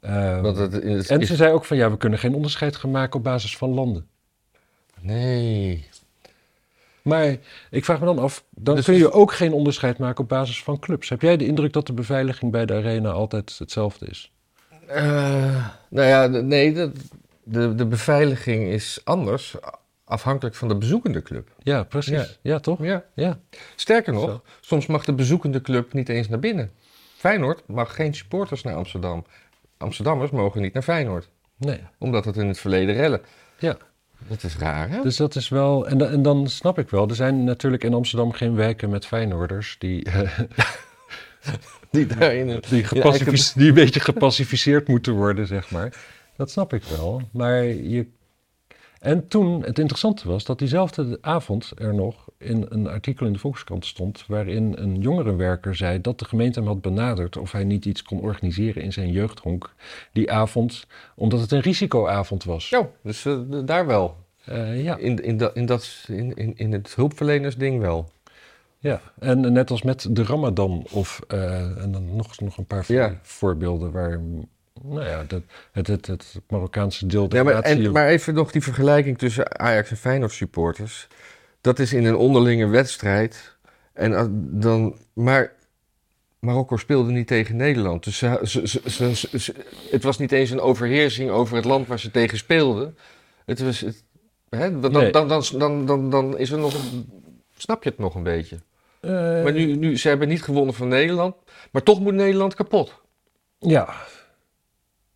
Speaker 1: Eh,
Speaker 2: Want het is,
Speaker 1: en
Speaker 2: is-
Speaker 1: ze zei ook van, ja, we kunnen geen onderscheid gaan maken op basis van landen.
Speaker 2: Nee.
Speaker 1: Maar ik vraag me dan af, dan
Speaker 2: Dus-
Speaker 1: kun je ook geen onderscheid maken op basis van clubs. Heb jij de indruk dat de beveiliging bij de arena altijd hetzelfde is?
Speaker 2: Eh, nou ja, de- nee, dat, de, de beveiliging is anders afhankelijk van de bezoekende club.
Speaker 1: Ja, precies. Ja,
Speaker 2: Ja.
Speaker 1: toch?
Speaker 2: Ja.
Speaker 1: Ja.
Speaker 2: Sterker nog,
Speaker 1: Zo.
Speaker 2: soms mag de bezoekende club niet eens naar binnen. Feyenoord mag geen supporters naar Amsterdam. Amsterdammers mogen niet naar Feyenoord,
Speaker 1: Nee.
Speaker 2: omdat het in het verleden rellen.
Speaker 1: Ja.
Speaker 2: Dat is raar, hè?
Speaker 1: Dus dat is wel. En, da- en dan snap ik wel. Er zijn natuurlijk in Amsterdam geen wijken met Feyenoorders. die, eh,
Speaker 2: Die daarin een-
Speaker 1: die,
Speaker 2: in eigen-
Speaker 1: gepacifice- die een beetje gepacificeerd moeten worden, zeg maar. Dat snap ik wel. Maar je. En toen, het interessante was dat diezelfde avond er nog in een artikel in de Volkskrant stond. waarin een jongerenwerker zei dat de gemeente hem had benaderd. of hij niet iets kon organiseren in zijn jeugdhonk. die avond, omdat het een risicoavond was.
Speaker 2: Ja, dus eh, d- daar wel.
Speaker 1: Eh, ja.
Speaker 2: In, in, dat, in, dat, in, in, in het hulpverlenersding wel.
Speaker 1: Ja, en net als met de Ramadan of eh, en dan nog, nog een paar voor-
Speaker 2: Ja.
Speaker 1: voorbeelden waar, nou ja, dat, het, het, het Marokkaanse deel der
Speaker 2: Ja, maar,
Speaker 1: natie-
Speaker 2: en, maar even nog die vergelijking tussen Ajax en Feyenoord supporters. Dat is in een onderlinge wedstrijd. En a- dan, maar Marokko speelde niet tegen Nederland. Dus ze, ze, ze- ze- ze- ze- het was niet eens een overheersing over het land waar ze tegen speelden. Het was, het, hè, dan,
Speaker 1: Nee.
Speaker 2: dan, dan, dan, dan, dan, is er nog een, snap je het nog een beetje.
Speaker 1: Eh,
Speaker 2: Maar nu, nu, ze hebben niet gewonnen van Nederland. Maar toch moet Nederland kapot.
Speaker 1: ja.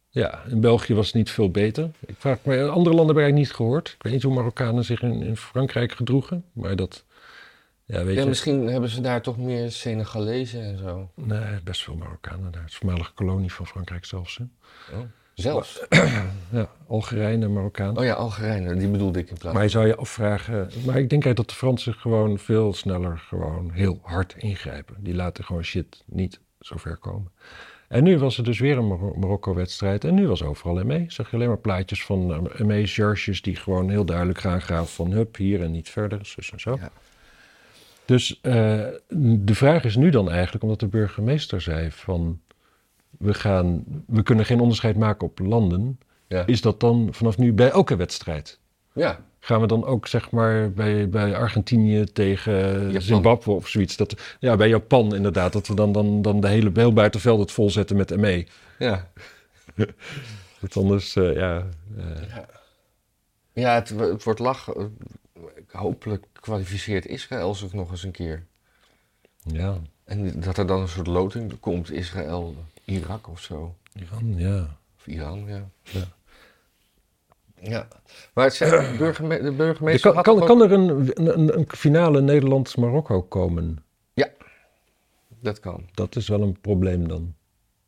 Speaker 1: ja, in België was het niet veel beter. Ik vraag me, in andere landen heb ik eigenlijk niet gehoord. Ik weet niet hoe Marokkanen zich in, in Frankrijk gedroegen, maar dat, ja, weet
Speaker 2: Ja,
Speaker 1: je,
Speaker 2: misschien hebben ze daar toch meer Senegalezen en zo.
Speaker 1: nee, best veel Marokkanen daar. Het is de voormalige kolonie van Frankrijk zelfs, hè.
Speaker 2: Zelfs.
Speaker 1: Ja, Algerijnen, Marokkaan.
Speaker 2: Oh ja, Algerijnen, die bedoelde ik in plaats
Speaker 1: Maar je zou je afvragen. Maar ik denk uit dat de Fransen gewoon veel sneller, gewoon heel hard ingrijpen. Die laten gewoon shit niet zo ver komen. En nu was er dus weer een Mar- Marokko-wedstrijd. En nu was overal ME. Zag je alleen maar plaatjes van eh, ME-charges die gewoon heel duidelijk gaan graven van hup, hier en niet verder, zus en zo.
Speaker 2: Ja.
Speaker 1: Dus eh, de vraag is nu dan eigenlijk, omdat de burgemeester zei van we, gaan, we kunnen geen onderscheid maken op landen.
Speaker 2: Ja.
Speaker 1: Is dat dan vanaf nu bij elke wedstrijd?
Speaker 2: Ja,
Speaker 1: Gaan we dan ook zeg maar bij, bij Argentinië tegen
Speaker 2: Japan.
Speaker 1: Zimbabwe of zoiets? Dat, ja, bij Japan inderdaad. Dat we dan, dan, dan de hele heel buitenveld het volzetten met ME.
Speaker 2: ja.
Speaker 1: Want anders, eh, ja.
Speaker 2: Ja, het, het wordt lach. Hopelijk kwalificeert Israël zich nog eens een keer.
Speaker 1: Ja,
Speaker 2: En dat er dan een soort loting komt, Israël, Irak of zo.
Speaker 1: Iran, ja.
Speaker 2: Of Iran, ja.
Speaker 1: Ja.
Speaker 2: Ja. Maar het zijn burgerme de
Speaker 1: Er
Speaker 2: burgemeester
Speaker 1: Kan,
Speaker 2: had
Speaker 1: kan,
Speaker 2: gewoon-
Speaker 1: kan er een, een, een finale Nederlands-Marokko komen?
Speaker 2: Dat kan.
Speaker 1: Dat is wel een probleem dan.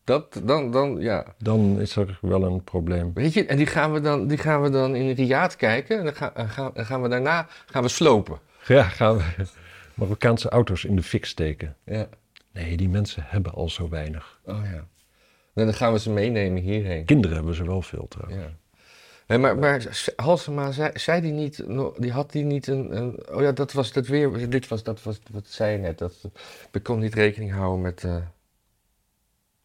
Speaker 2: Dat, dan, dan, ja.
Speaker 1: Dan is er wel een probleem.
Speaker 2: Weet je, en die gaan we dan, die gaan we dan in Riyadh kijken. En dan gaan, en gaan, en gaan we daarna gaan we slopen.
Speaker 1: Ja, gaan we Marokkaanse auto's in de fik steken?
Speaker 2: Ja.
Speaker 1: Nee, die mensen hebben al zo weinig.
Speaker 2: Oh ja. En dan gaan we ze meenemen hierheen.
Speaker 1: Kinderen hebben ze wel veel trouwens.
Speaker 2: Ja. Nee, maar, maar Halsema, zei, zei die niet, no- die had die niet een, een- oh ja, dat was dat weer, dit was, dat was, wat zei je net, dat eh, we kon niet rekening houden met, eh,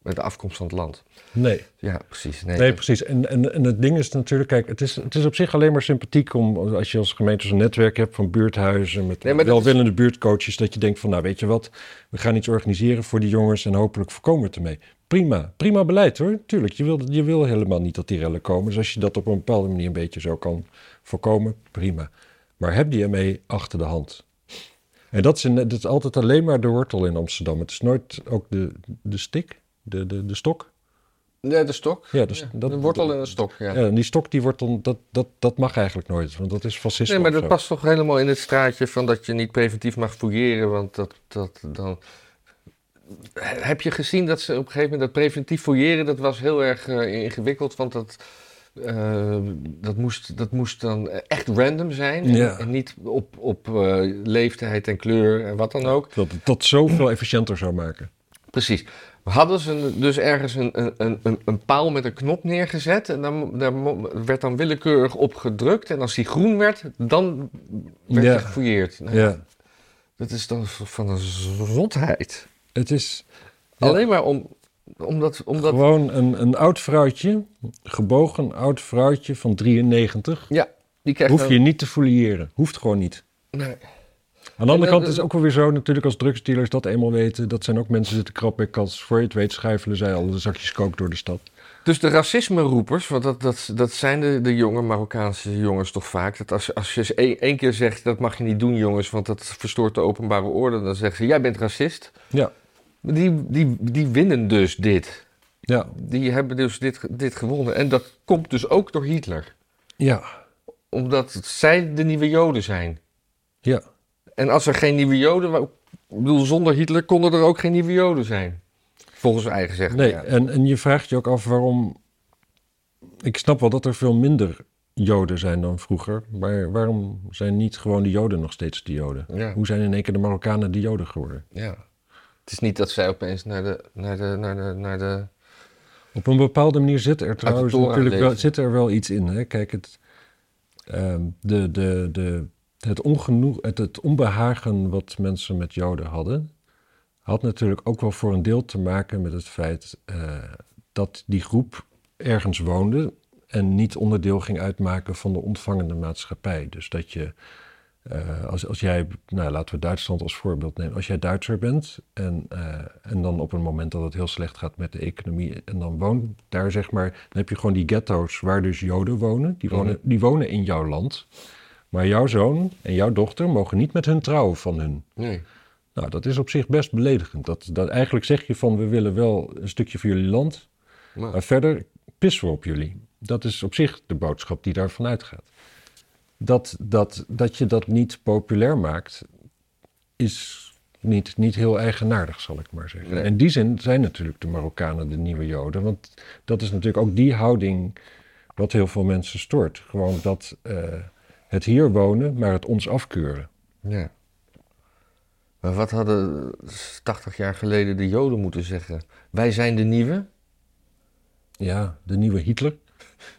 Speaker 2: met de afkomst van het land.
Speaker 1: Nee.
Speaker 2: Ja, precies. Nee,
Speaker 1: Nee,
Speaker 2: dat-
Speaker 1: precies. En, en, en het ding is natuurlijk, kijk, het is, het is op zich alleen maar sympathiek om als je als gemeente zo'n netwerk hebt van buurthuizen met
Speaker 2: Nee, maar dat
Speaker 1: welwillende buurtcoaches, dat je denkt van, nou weet je wat, we gaan iets organiseren voor die jongens en hopelijk voorkomen we het ermee. Prima, prima beleid hoor. Tuurlijk, je wil, je wil helemaal niet dat die rellen komen. Dus als je dat op een bepaalde manier een beetje zo kan voorkomen, prima. Maar heb die ermee achter de hand. En dat is, in- dat is altijd alleen maar de wortel in Amsterdam. Het is nooit ook de, de stik, de, de, de stok.
Speaker 2: nee, de stok.
Speaker 1: Ja, dus dat-
Speaker 2: een wortel en een stok, ja.
Speaker 1: Ja, en die stok die wordt dan, dat, dat, dat mag eigenlijk nooit, want dat is fascisme.
Speaker 2: Nee, maar
Speaker 1: of
Speaker 2: dat
Speaker 1: zo.
Speaker 2: past toch helemaal in het straatje van dat je niet preventief mag fouilleren, want dat, dat dan... Heb je gezien dat ze op een gegeven moment dat preventief fouilleren, dat was heel erg eh, ingewikkeld, want dat, eh, dat, moest, dat moest dan echt random zijn en,
Speaker 1: Ja.
Speaker 2: en niet op, op eh, leeftijd en kleur en wat dan ook.
Speaker 1: Dat het dat zoveel efficiënter zou maken.
Speaker 2: Precies. We hadden ze dus ergens een, een, een, een- een paal met een knop neergezet. En dan, daar mo- werd dan willekeurig op gedrukt. En als die groen werd, dan werd
Speaker 1: Ja.
Speaker 2: je gefouilleerd. Nou,
Speaker 1: Ja,
Speaker 2: Dat is dan v- van een zotheid.
Speaker 1: het is Ja.
Speaker 2: Alleen maar om, omdat, omdat
Speaker 1: gewoon een, een oud vrouwtje, gebogen oud vrouwtje van 93.
Speaker 2: ja, die krijgt
Speaker 1: Hoef
Speaker 2: dan-
Speaker 1: je niet te fouilleren, hoeft gewoon niet.
Speaker 2: Nee.
Speaker 1: Aan de andere
Speaker 2: dat-
Speaker 1: kant is het ook wel weer zo, natuurlijk als drugsdealers dat eenmaal weten, dat zijn ook mensen die zitten krap bij kans. Voor je het weet schuifelen zij al de zakjes kook door de stad.
Speaker 2: Dus de racisme-roepers, want dat, dat, dat zijn de, de jonge Marokkaanse jongens toch vaak. Dat als, als je eens één, één keer zegt, dat mag je niet doen jongens, want dat verstoort de openbare orde. Dan zeggen ze, jij bent racist.
Speaker 1: Ja,
Speaker 2: Die, die, die winnen dus dit.
Speaker 1: ja,
Speaker 2: Die hebben dus dit, ge- dit gewonnen. En dat komt dus ook door Hitler.
Speaker 1: ja,
Speaker 2: Omdat zij de nieuwe Joden zijn.
Speaker 1: ja.
Speaker 2: En als er geen nieuwe Joden... wa- Ik bedoel, zonder Hitler konden er ook geen nieuwe Joden zijn. Volgens zijn eigen zeggen.
Speaker 1: Nee,
Speaker 2: ja.
Speaker 1: en, en je vraagt je ook af waarom. Ik snap wel dat er veel minder Joden zijn dan vroeger, maar waarom zijn niet gewoon de Joden nog steeds de Joden?
Speaker 2: Ja.
Speaker 1: Hoe zijn in één keer de Marokkanen de Joden geworden?
Speaker 2: Ja. Het is niet dat zij opeens naar de... Naar de, naar de, naar de
Speaker 1: Op een bepaalde manier zit er trouwens
Speaker 2: Torah
Speaker 1: natuurlijk wel,
Speaker 2: lezen.
Speaker 1: zit er wel iets in. Hè? Kijk, het, ehm, de, de, de, het, ongenoeg, het, het onbehagen wat mensen met Joden hadden, had natuurlijk ook wel voor een deel te maken met het feit eh, dat die groep ergens woonde en niet onderdeel ging uitmaken van de ontvangende maatschappij. Dus dat je, eh, als, als jij, nou laten we Duitsland als voorbeeld nemen, als jij Duitser bent en, eh, en dan op een moment dat het heel slecht gaat met de economie en dan woont daar zeg maar, dan heb je gewoon die ghetto's waar dus Joden wonen, die wonen, die wonen in jouw land. Maar jouw zoon en jouw dochter mogen niet met hun trouwen van hun.
Speaker 2: nee.
Speaker 1: Nou, dat is op zich best beledigend. Dat, dat eigenlijk zeg je van we willen wel een stukje van jullie land,
Speaker 2: Maar-
Speaker 1: maar verder pissen we op jullie. Dat is op zich de boodschap die daarvan uitgaat. Dat, dat, dat je dat niet populair maakt, is niet, niet heel eigenaardig, zal ik maar zeggen.
Speaker 2: Nee.
Speaker 1: In die zin zijn natuurlijk de Marokkanen de nieuwe Joden. Want dat is natuurlijk ook die houding wat heel veel mensen stoort. Gewoon dat eh, het hier wonen, maar het ons afkeuren.
Speaker 2: Ja. Maar wat hadden 80 jaar geleden de Joden moeten zeggen? Wij zijn de nieuwe?
Speaker 1: Ja, de nieuwe Hitler.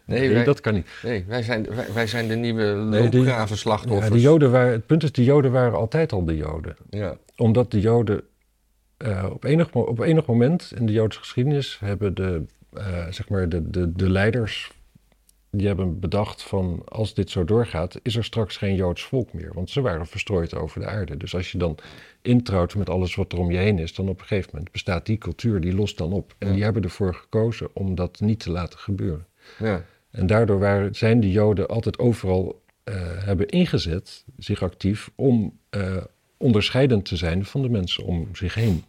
Speaker 2: Nee,
Speaker 1: Nee,
Speaker 2: wij,
Speaker 1: dat kan niet.
Speaker 2: nee wij, zijn, wij, wij zijn de nieuwe
Speaker 1: Nee, die-
Speaker 2: loopgravenslachtoffers.
Speaker 1: Ja, de Joden waren, het punt is, de Joden waren altijd al de Joden.
Speaker 2: Ja.
Speaker 1: Omdat de Joden eh, op, enig, mo- op enig moment in de Joodse geschiedenis hebben de, eh, zeg maar de, de, de leiders die hebben bedacht van als dit zo doorgaat, is er straks geen Joods volk meer. Want ze waren verstrooid over de aarde. Dus als je dan introuwt met alles wat er om je heen is, dan op een gegeven moment bestaat die cultuur, die lost dan op. En
Speaker 2: Ja.
Speaker 1: die hebben ervoor gekozen om dat niet te laten gebeuren.
Speaker 2: Ja.
Speaker 1: En daardoor waren, zijn de Joden altijd overal eh, hebben ingezet, zich actief, om eh, onderscheidend te zijn van de mensen om zich heen.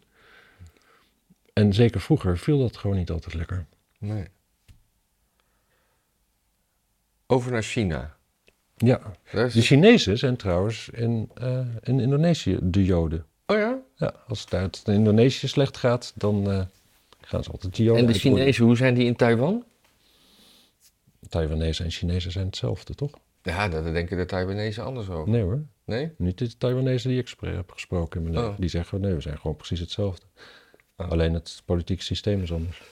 Speaker 1: En zeker vroeger viel dat gewoon niet altijd lekker.
Speaker 2: Nee. Over naar China.
Speaker 1: Ja,
Speaker 2: Daar is-
Speaker 1: de Chinezen zijn trouwens in, eh, in Indonesië de Joden.
Speaker 2: Oh ja?
Speaker 1: Ja, als het uit Indonesië slecht gaat, dan eh, gaan ze altijd de Joden
Speaker 2: En de
Speaker 1: uitroeien.
Speaker 2: Chinezen, hoe zijn die in Taiwan?
Speaker 1: Taiwanese en Chinezen zijn hetzelfde, toch?
Speaker 2: Ja, daar denken de Taiwanese anders over.
Speaker 1: Nee hoor,
Speaker 2: Nee?
Speaker 1: Niet de Taiwanese die ik spre- heb gesproken in mijn leven.
Speaker 2: Oh.
Speaker 1: Die zeggen, nee, we zijn gewoon precies hetzelfde. Alleen het politieke systeem is anders.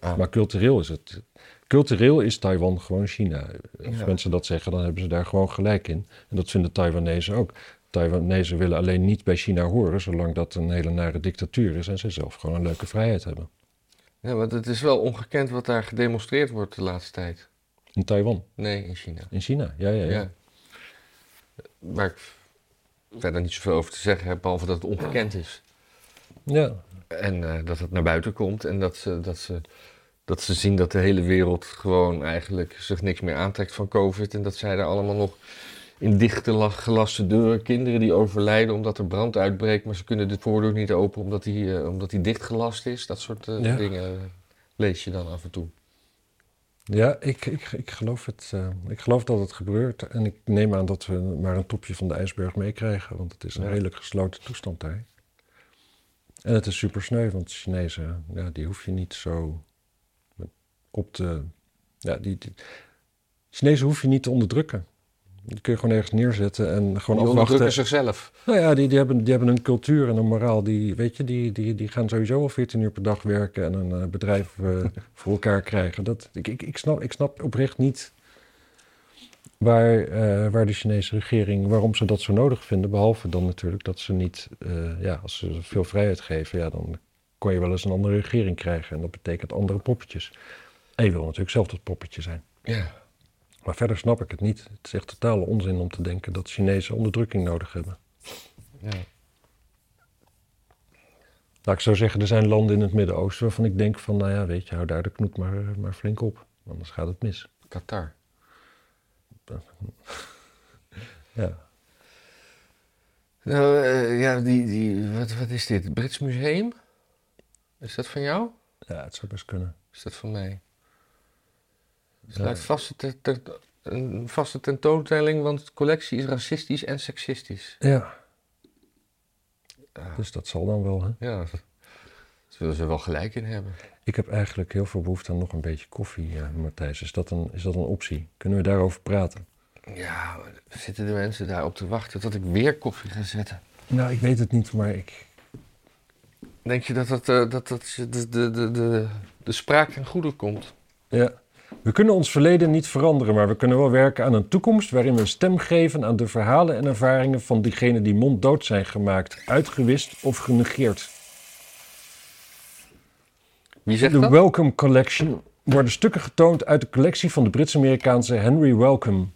Speaker 2: Ah.
Speaker 1: Maar cultureel is het... Cultureel is Taiwan gewoon China. Als
Speaker 2: Ja.
Speaker 1: mensen dat zeggen, dan hebben ze daar gewoon gelijk in. En dat vinden Taiwanese ook. Taiwanese willen alleen niet bij China horen... zolang dat een hele nare dictatuur is... en ze zelf gewoon een leuke vrijheid hebben.
Speaker 2: Ja, want het is wel ongekend wat daar gedemonstreerd wordt de laatste tijd.
Speaker 1: In Taiwan,
Speaker 2: Nee, in China.
Speaker 1: in China. Ja, ja, ja.
Speaker 2: Ja. Waar ik verder niet zoveel over te zeggen heb, behalve dat het ongekend is.
Speaker 1: ja.
Speaker 2: En eh, dat het naar buiten komt en dat ze, dat, ze, dat ze zien dat de hele wereld gewoon eigenlijk zich niks meer aantrekt van COVID. En dat zij daar allemaal nog in dichte la- gelaste deuren kinderen die overlijden omdat er brand uitbreekt, maar ze kunnen de voordeur niet open omdat die, eh, omdat die dichtgelast is. Dat soort eh,
Speaker 1: Ja.
Speaker 2: dingen lees je dan af en toe.
Speaker 1: Ja, ik, ik, ik, geloof het, eh, ik geloof dat het gebeurt. En ik neem aan dat we maar een topje van de ijsberg meekrijgen. Want het is een
Speaker 2: Ja.
Speaker 1: redelijk gesloten toestand daar. En het is super sneu, want de Chinezen, ja, die hoef je niet zo op te. Ja, die, die- Chinezen hoef je niet te onderdrukken. Die kun je gewoon ergens neerzetten en
Speaker 2: Die
Speaker 1: gewoon
Speaker 2: onderdrukken
Speaker 1: afwachten.
Speaker 2: zichzelf.
Speaker 1: Nou ja, die, die, hebben, die hebben een cultuur en een moraal. Die, weet je, die, die, die gaan sowieso al 14 uur per dag werken en een eh, bedrijf eh, voor elkaar krijgen. Dat, ik, ik, ik, snap, ik snap oprecht niet waar, eh, waar de Chinese regering, waarom ze dat zo nodig vinden. Behalve dan natuurlijk dat ze niet, eh, ja, als ze veel vrijheid geven, ja, dan kon je wel eens een andere regering krijgen. En dat betekent andere poppetjes. En je wil natuurlijk zelf dat poppetje zijn.
Speaker 2: Ja.
Speaker 1: Maar verder snap ik het niet. Het is echt totale onzin om te denken dat Chinezen onderdrukking nodig hebben.
Speaker 2: ja.
Speaker 1: Laat ik zo zeggen, er zijn landen in het Midden-Oosten waarvan ik denk van, nou ja, weet je, hou daar de knoet maar, eh, maar flink op. Anders gaat het mis.
Speaker 2: Qatar.
Speaker 1: Ja.
Speaker 2: Nou, eh, ja, die, die, wat, wat is dit? Het Brits Museum? Is dat van jou?
Speaker 1: ja, het zou best kunnen.
Speaker 2: Is dat van mij? Het lijkt vaste te- te- een vaste tentoonstelling, want de collectie is racistisch en seksistisch.
Speaker 1: Ja. Dus dat zal dan wel, hè?
Speaker 2: Ja, daar zullen ze wel gelijk in hebben.
Speaker 1: Ik heb eigenlijk heel veel behoefte aan nog een beetje koffie, eh, Matthijs. Is dat, een, is dat een optie? Kunnen we daarover praten?
Speaker 2: Ja, maar zitten de mensen daarop te wachten tot ik weer koffie ga zetten?
Speaker 1: Nou, ik weet het niet, maar ik...
Speaker 2: Denk je dat dat, eh, dat, dat je de, de, de, de, de spraak ten goede komt?
Speaker 1: Ja. We kunnen ons verleden niet veranderen, maar we kunnen wel werken aan een toekomst waarin we een stem geven aan de verhalen en ervaringen van diegenen die monddood zijn gemaakt, uitgewist of genegeerd.
Speaker 2: Wie zegt
Speaker 1: De
Speaker 2: dat?
Speaker 1: Welcome Collection worden stukken getoond uit de collectie van de Brits-Amerikaanse Henry Welcome.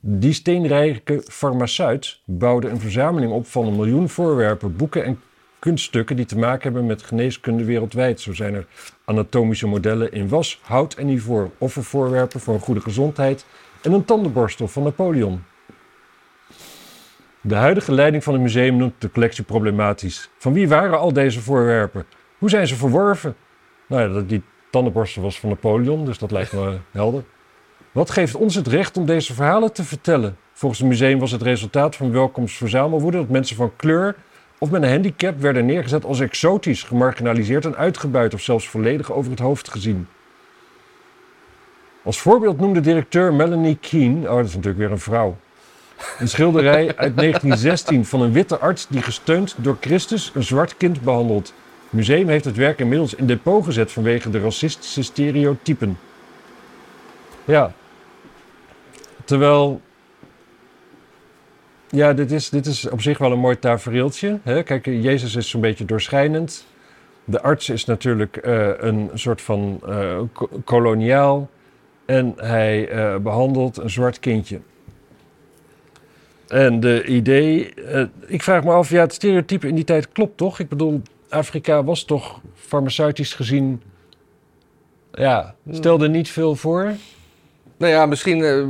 Speaker 1: Die steenrijke farmaceut bouwde een verzameling op van een miljoen voorwerpen, boeken en kunststukken die te maken hebben met geneeskunde wereldwijd. Zo zijn er anatomische modellen in was, hout en ivoor, offervoorwerpen voor een goede gezondheid en een tandenborstel van Napoleon. De huidige leiding van het museum noemt de collectie problematisch. Van wie waren al deze voorwerpen? Hoe zijn ze verworven? Nou ja, dat- die tandenborstel was van Napoleon, dus dat lijkt me helder. Wat geeft ons het recht om deze verhalen te vertellen? Volgens het museum was het resultaat van welkomstverzamelwoede dat mensen van kleur, of met een handicap werden neergezet als exotisch, gemarginaliseerd en uitgebuit of zelfs volledig over het hoofd gezien. Als voorbeeld noemde directeur Melanie Keane, oh dat is natuurlijk weer een vrouw, een schilderij uit 1916 van een witte arts die gesteund door Christus een zwart kind behandelt. Het museum heeft het werk inmiddels in depot gezet vanwege de racistische stereotypen. Ja. Terwijl. Ja, dit is, dit is op zich wel een mooi tafereeltje. Hè? Kijk, Jezus is zo'n beetje doorschijnend. De arts is natuurlijk eh, een soort van eh, ko- koloniaal. En hij eh, behandelt een zwart kindje. En de idee, eh, ik vraag me af, ja, het stereotype in die tijd klopt toch? Ik bedoel, Afrika was toch farmaceutisch gezien, ja, stelde niet veel voor.
Speaker 2: Nou ja, misschien eh,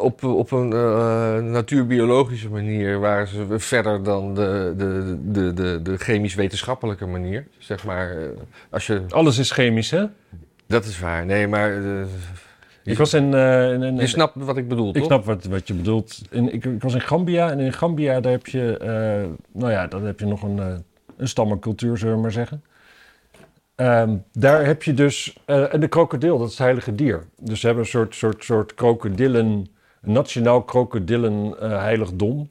Speaker 2: op, op een eh, natuurbiologische manier waren ze verder dan de, de, de, de, de chemisch-wetenschappelijke manier. Zeg maar, eh, als je...
Speaker 1: Alles is chemisch, hè?
Speaker 2: Dat is waar, nee, maar eh,
Speaker 1: Ik was in... eh, in, in-
Speaker 2: je snapt wat ik bedoel,
Speaker 1: ik
Speaker 2: toch?
Speaker 1: snap wat, wat je bedoelt. In, ik, ik was in Gambia en in Gambia daar heb je, eh, nou ja, dan heb je nog een, eh, een stammencultuur, zullen we maar zeggen. Ehm, daar heb je dus, eh, en de krokodil, dat is het heilige dier. Dus ze hebben een soort, soort, soort krokodillen, een nationaal krokodillen eh, heiligdom.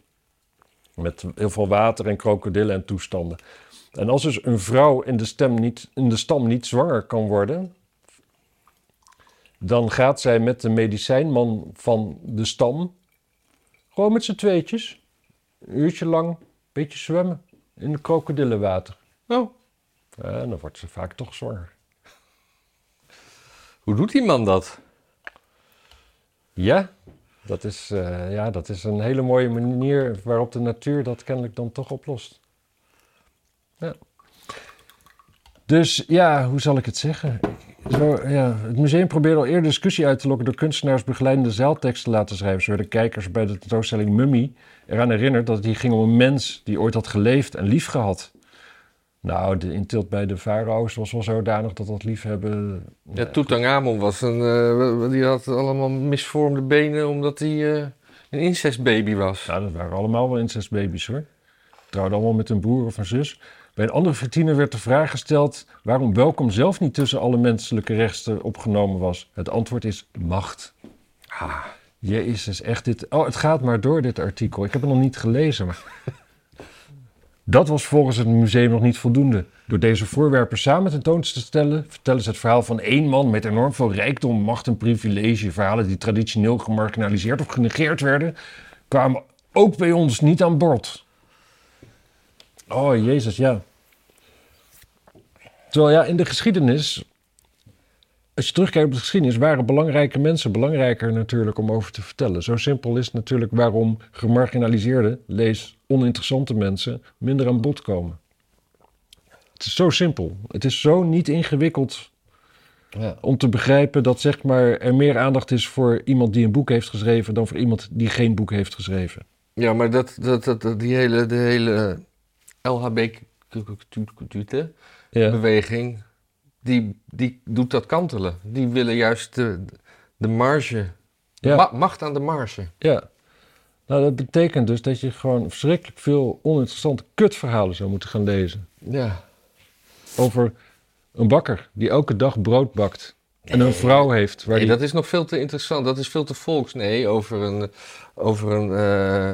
Speaker 1: Met heel veel water en krokodillen en toestanden. En als dus een vrouw in de, stem niet, in de stam niet zwanger kan worden, dan gaat zij met de medicijnman van de stam. Gewoon met z'n tweetjes. Een uurtje lang. Een beetje zwemmen. In het krokodillenwater.
Speaker 2: Oh,
Speaker 1: En dan wordt ze vaak toch zwanger.
Speaker 2: hoe doet die man dat?
Speaker 1: Ja. Dat is, eh, ja, dat is een hele mooie manier waarop de natuur dat kennelijk dan toch oplost. Ja. Dus ja, hoe zal ik het zeggen? Zo, ja, het museum probeerde al eerder discussie uit te lokken door kunstenaars begeleidende zaaltekst te laten schrijven. Zo werden kijkers bij de tentoonstelling Mummy eraan herinnerd dat het hier ging om een mens die ooit had geleefd en lief gehad. Nou, de intilt bij de farao's was wel zodanig dat dat liefhebben...
Speaker 2: Ja, Tutankhamon was een, eh, die had allemaal misvormde benen omdat hij eh, een incestbaby was.
Speaker 1: Nou, dat waren allemaal wel incestbabies hoor. Trouwden allemaal met een broer of een zus. Bij een andere vertiener werd de vraag gesteld waarom welkom zelf niet tussen alle menselijke rechten opgenomen was. Het antwoord is macht.
Speaker 2: Ah.
Speaker 1: Jezus, echt dit. Oh, het gaat maar door dit artikel. Ik heb het nog niet gelezen. Maar... Dat was volgens het museum nog niet voldoende. Door deze voorwerpen samen tentoon te stellen, vertellen ze het verhaal van één man met enorm veel rijkdom, macht en privilege. Verhalen die traditioneel gemarginaliseerd of genegeerd werden, kwamen ook bij ons niet aan boord. Oh, Jezus, ja. Terwijl ja, in de geschiedenis als je terugkijkt op de geschiedenis, waren belangrijke mensen belangrijker natuurlijk om over te vertellen. Zo simpel is natuurlijk waarom gemarginaliseerde, lees oninteressante mensen, minder aan bod komen. Het is zo simpel. Het is zo niet ingewikkeld
Speaker 2: Ja.
Speaker 1: om te begrijpen dat zeg maar, er meer aandacht is voor iemand die een boek heeft geschreven dan voor iemand die geen boek heeft geschreven.
Speaker 2: Ja, maar dat, dat, dat, dat- die hele, de hele LHBQ-beweging,
Speaker 1: Ja.
Speaker 2: die, die doet dat kantelen. Die willen juist de, de marge,
Speaker 1: Ja.
Speaker 2: ma- macht aan de marge.
Speaker 1: ja. Nou, dat betekent dus dat je gewoon verschrikkelijk veel oninteressante kutverhalen zou moeten gaan lezen.
Speaker 2: Ja.
Speaker 1: over een bakker die elke dag brood bakt. En een vrouw heeft. Waar
Speaker 2: Nee,
Speaker 1: die...
Speaker 2: dat is nog veel te interessant. Dat is veel te volks. Nee, over een, over een, eh,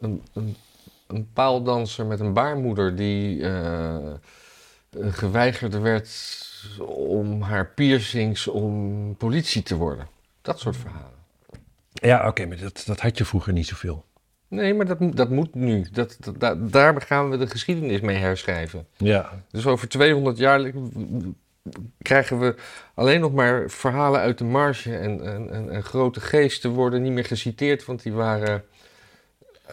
Speaker 2: een, een, een paaldanser met een baarmoeder die eh, geweigerd werd om haar piercings om politie te worden. Dat soort verhalen.
Speaker 1: Ja, oké, maar dat, dat had je vroeger niet zoveel.
Speaker 2: Nee, maar dat, moet- dat moet nu. Dat, dat, da- daar gaan we de geschiedenis mee herschrijven.
Speaker 1: Ja.
Speaker 2: Dus over 200 jaar li- krijgen we alleen nog maar verhalen uit de marge. En, en, en, en grote geesten worden niet meer geciteerd, want die waren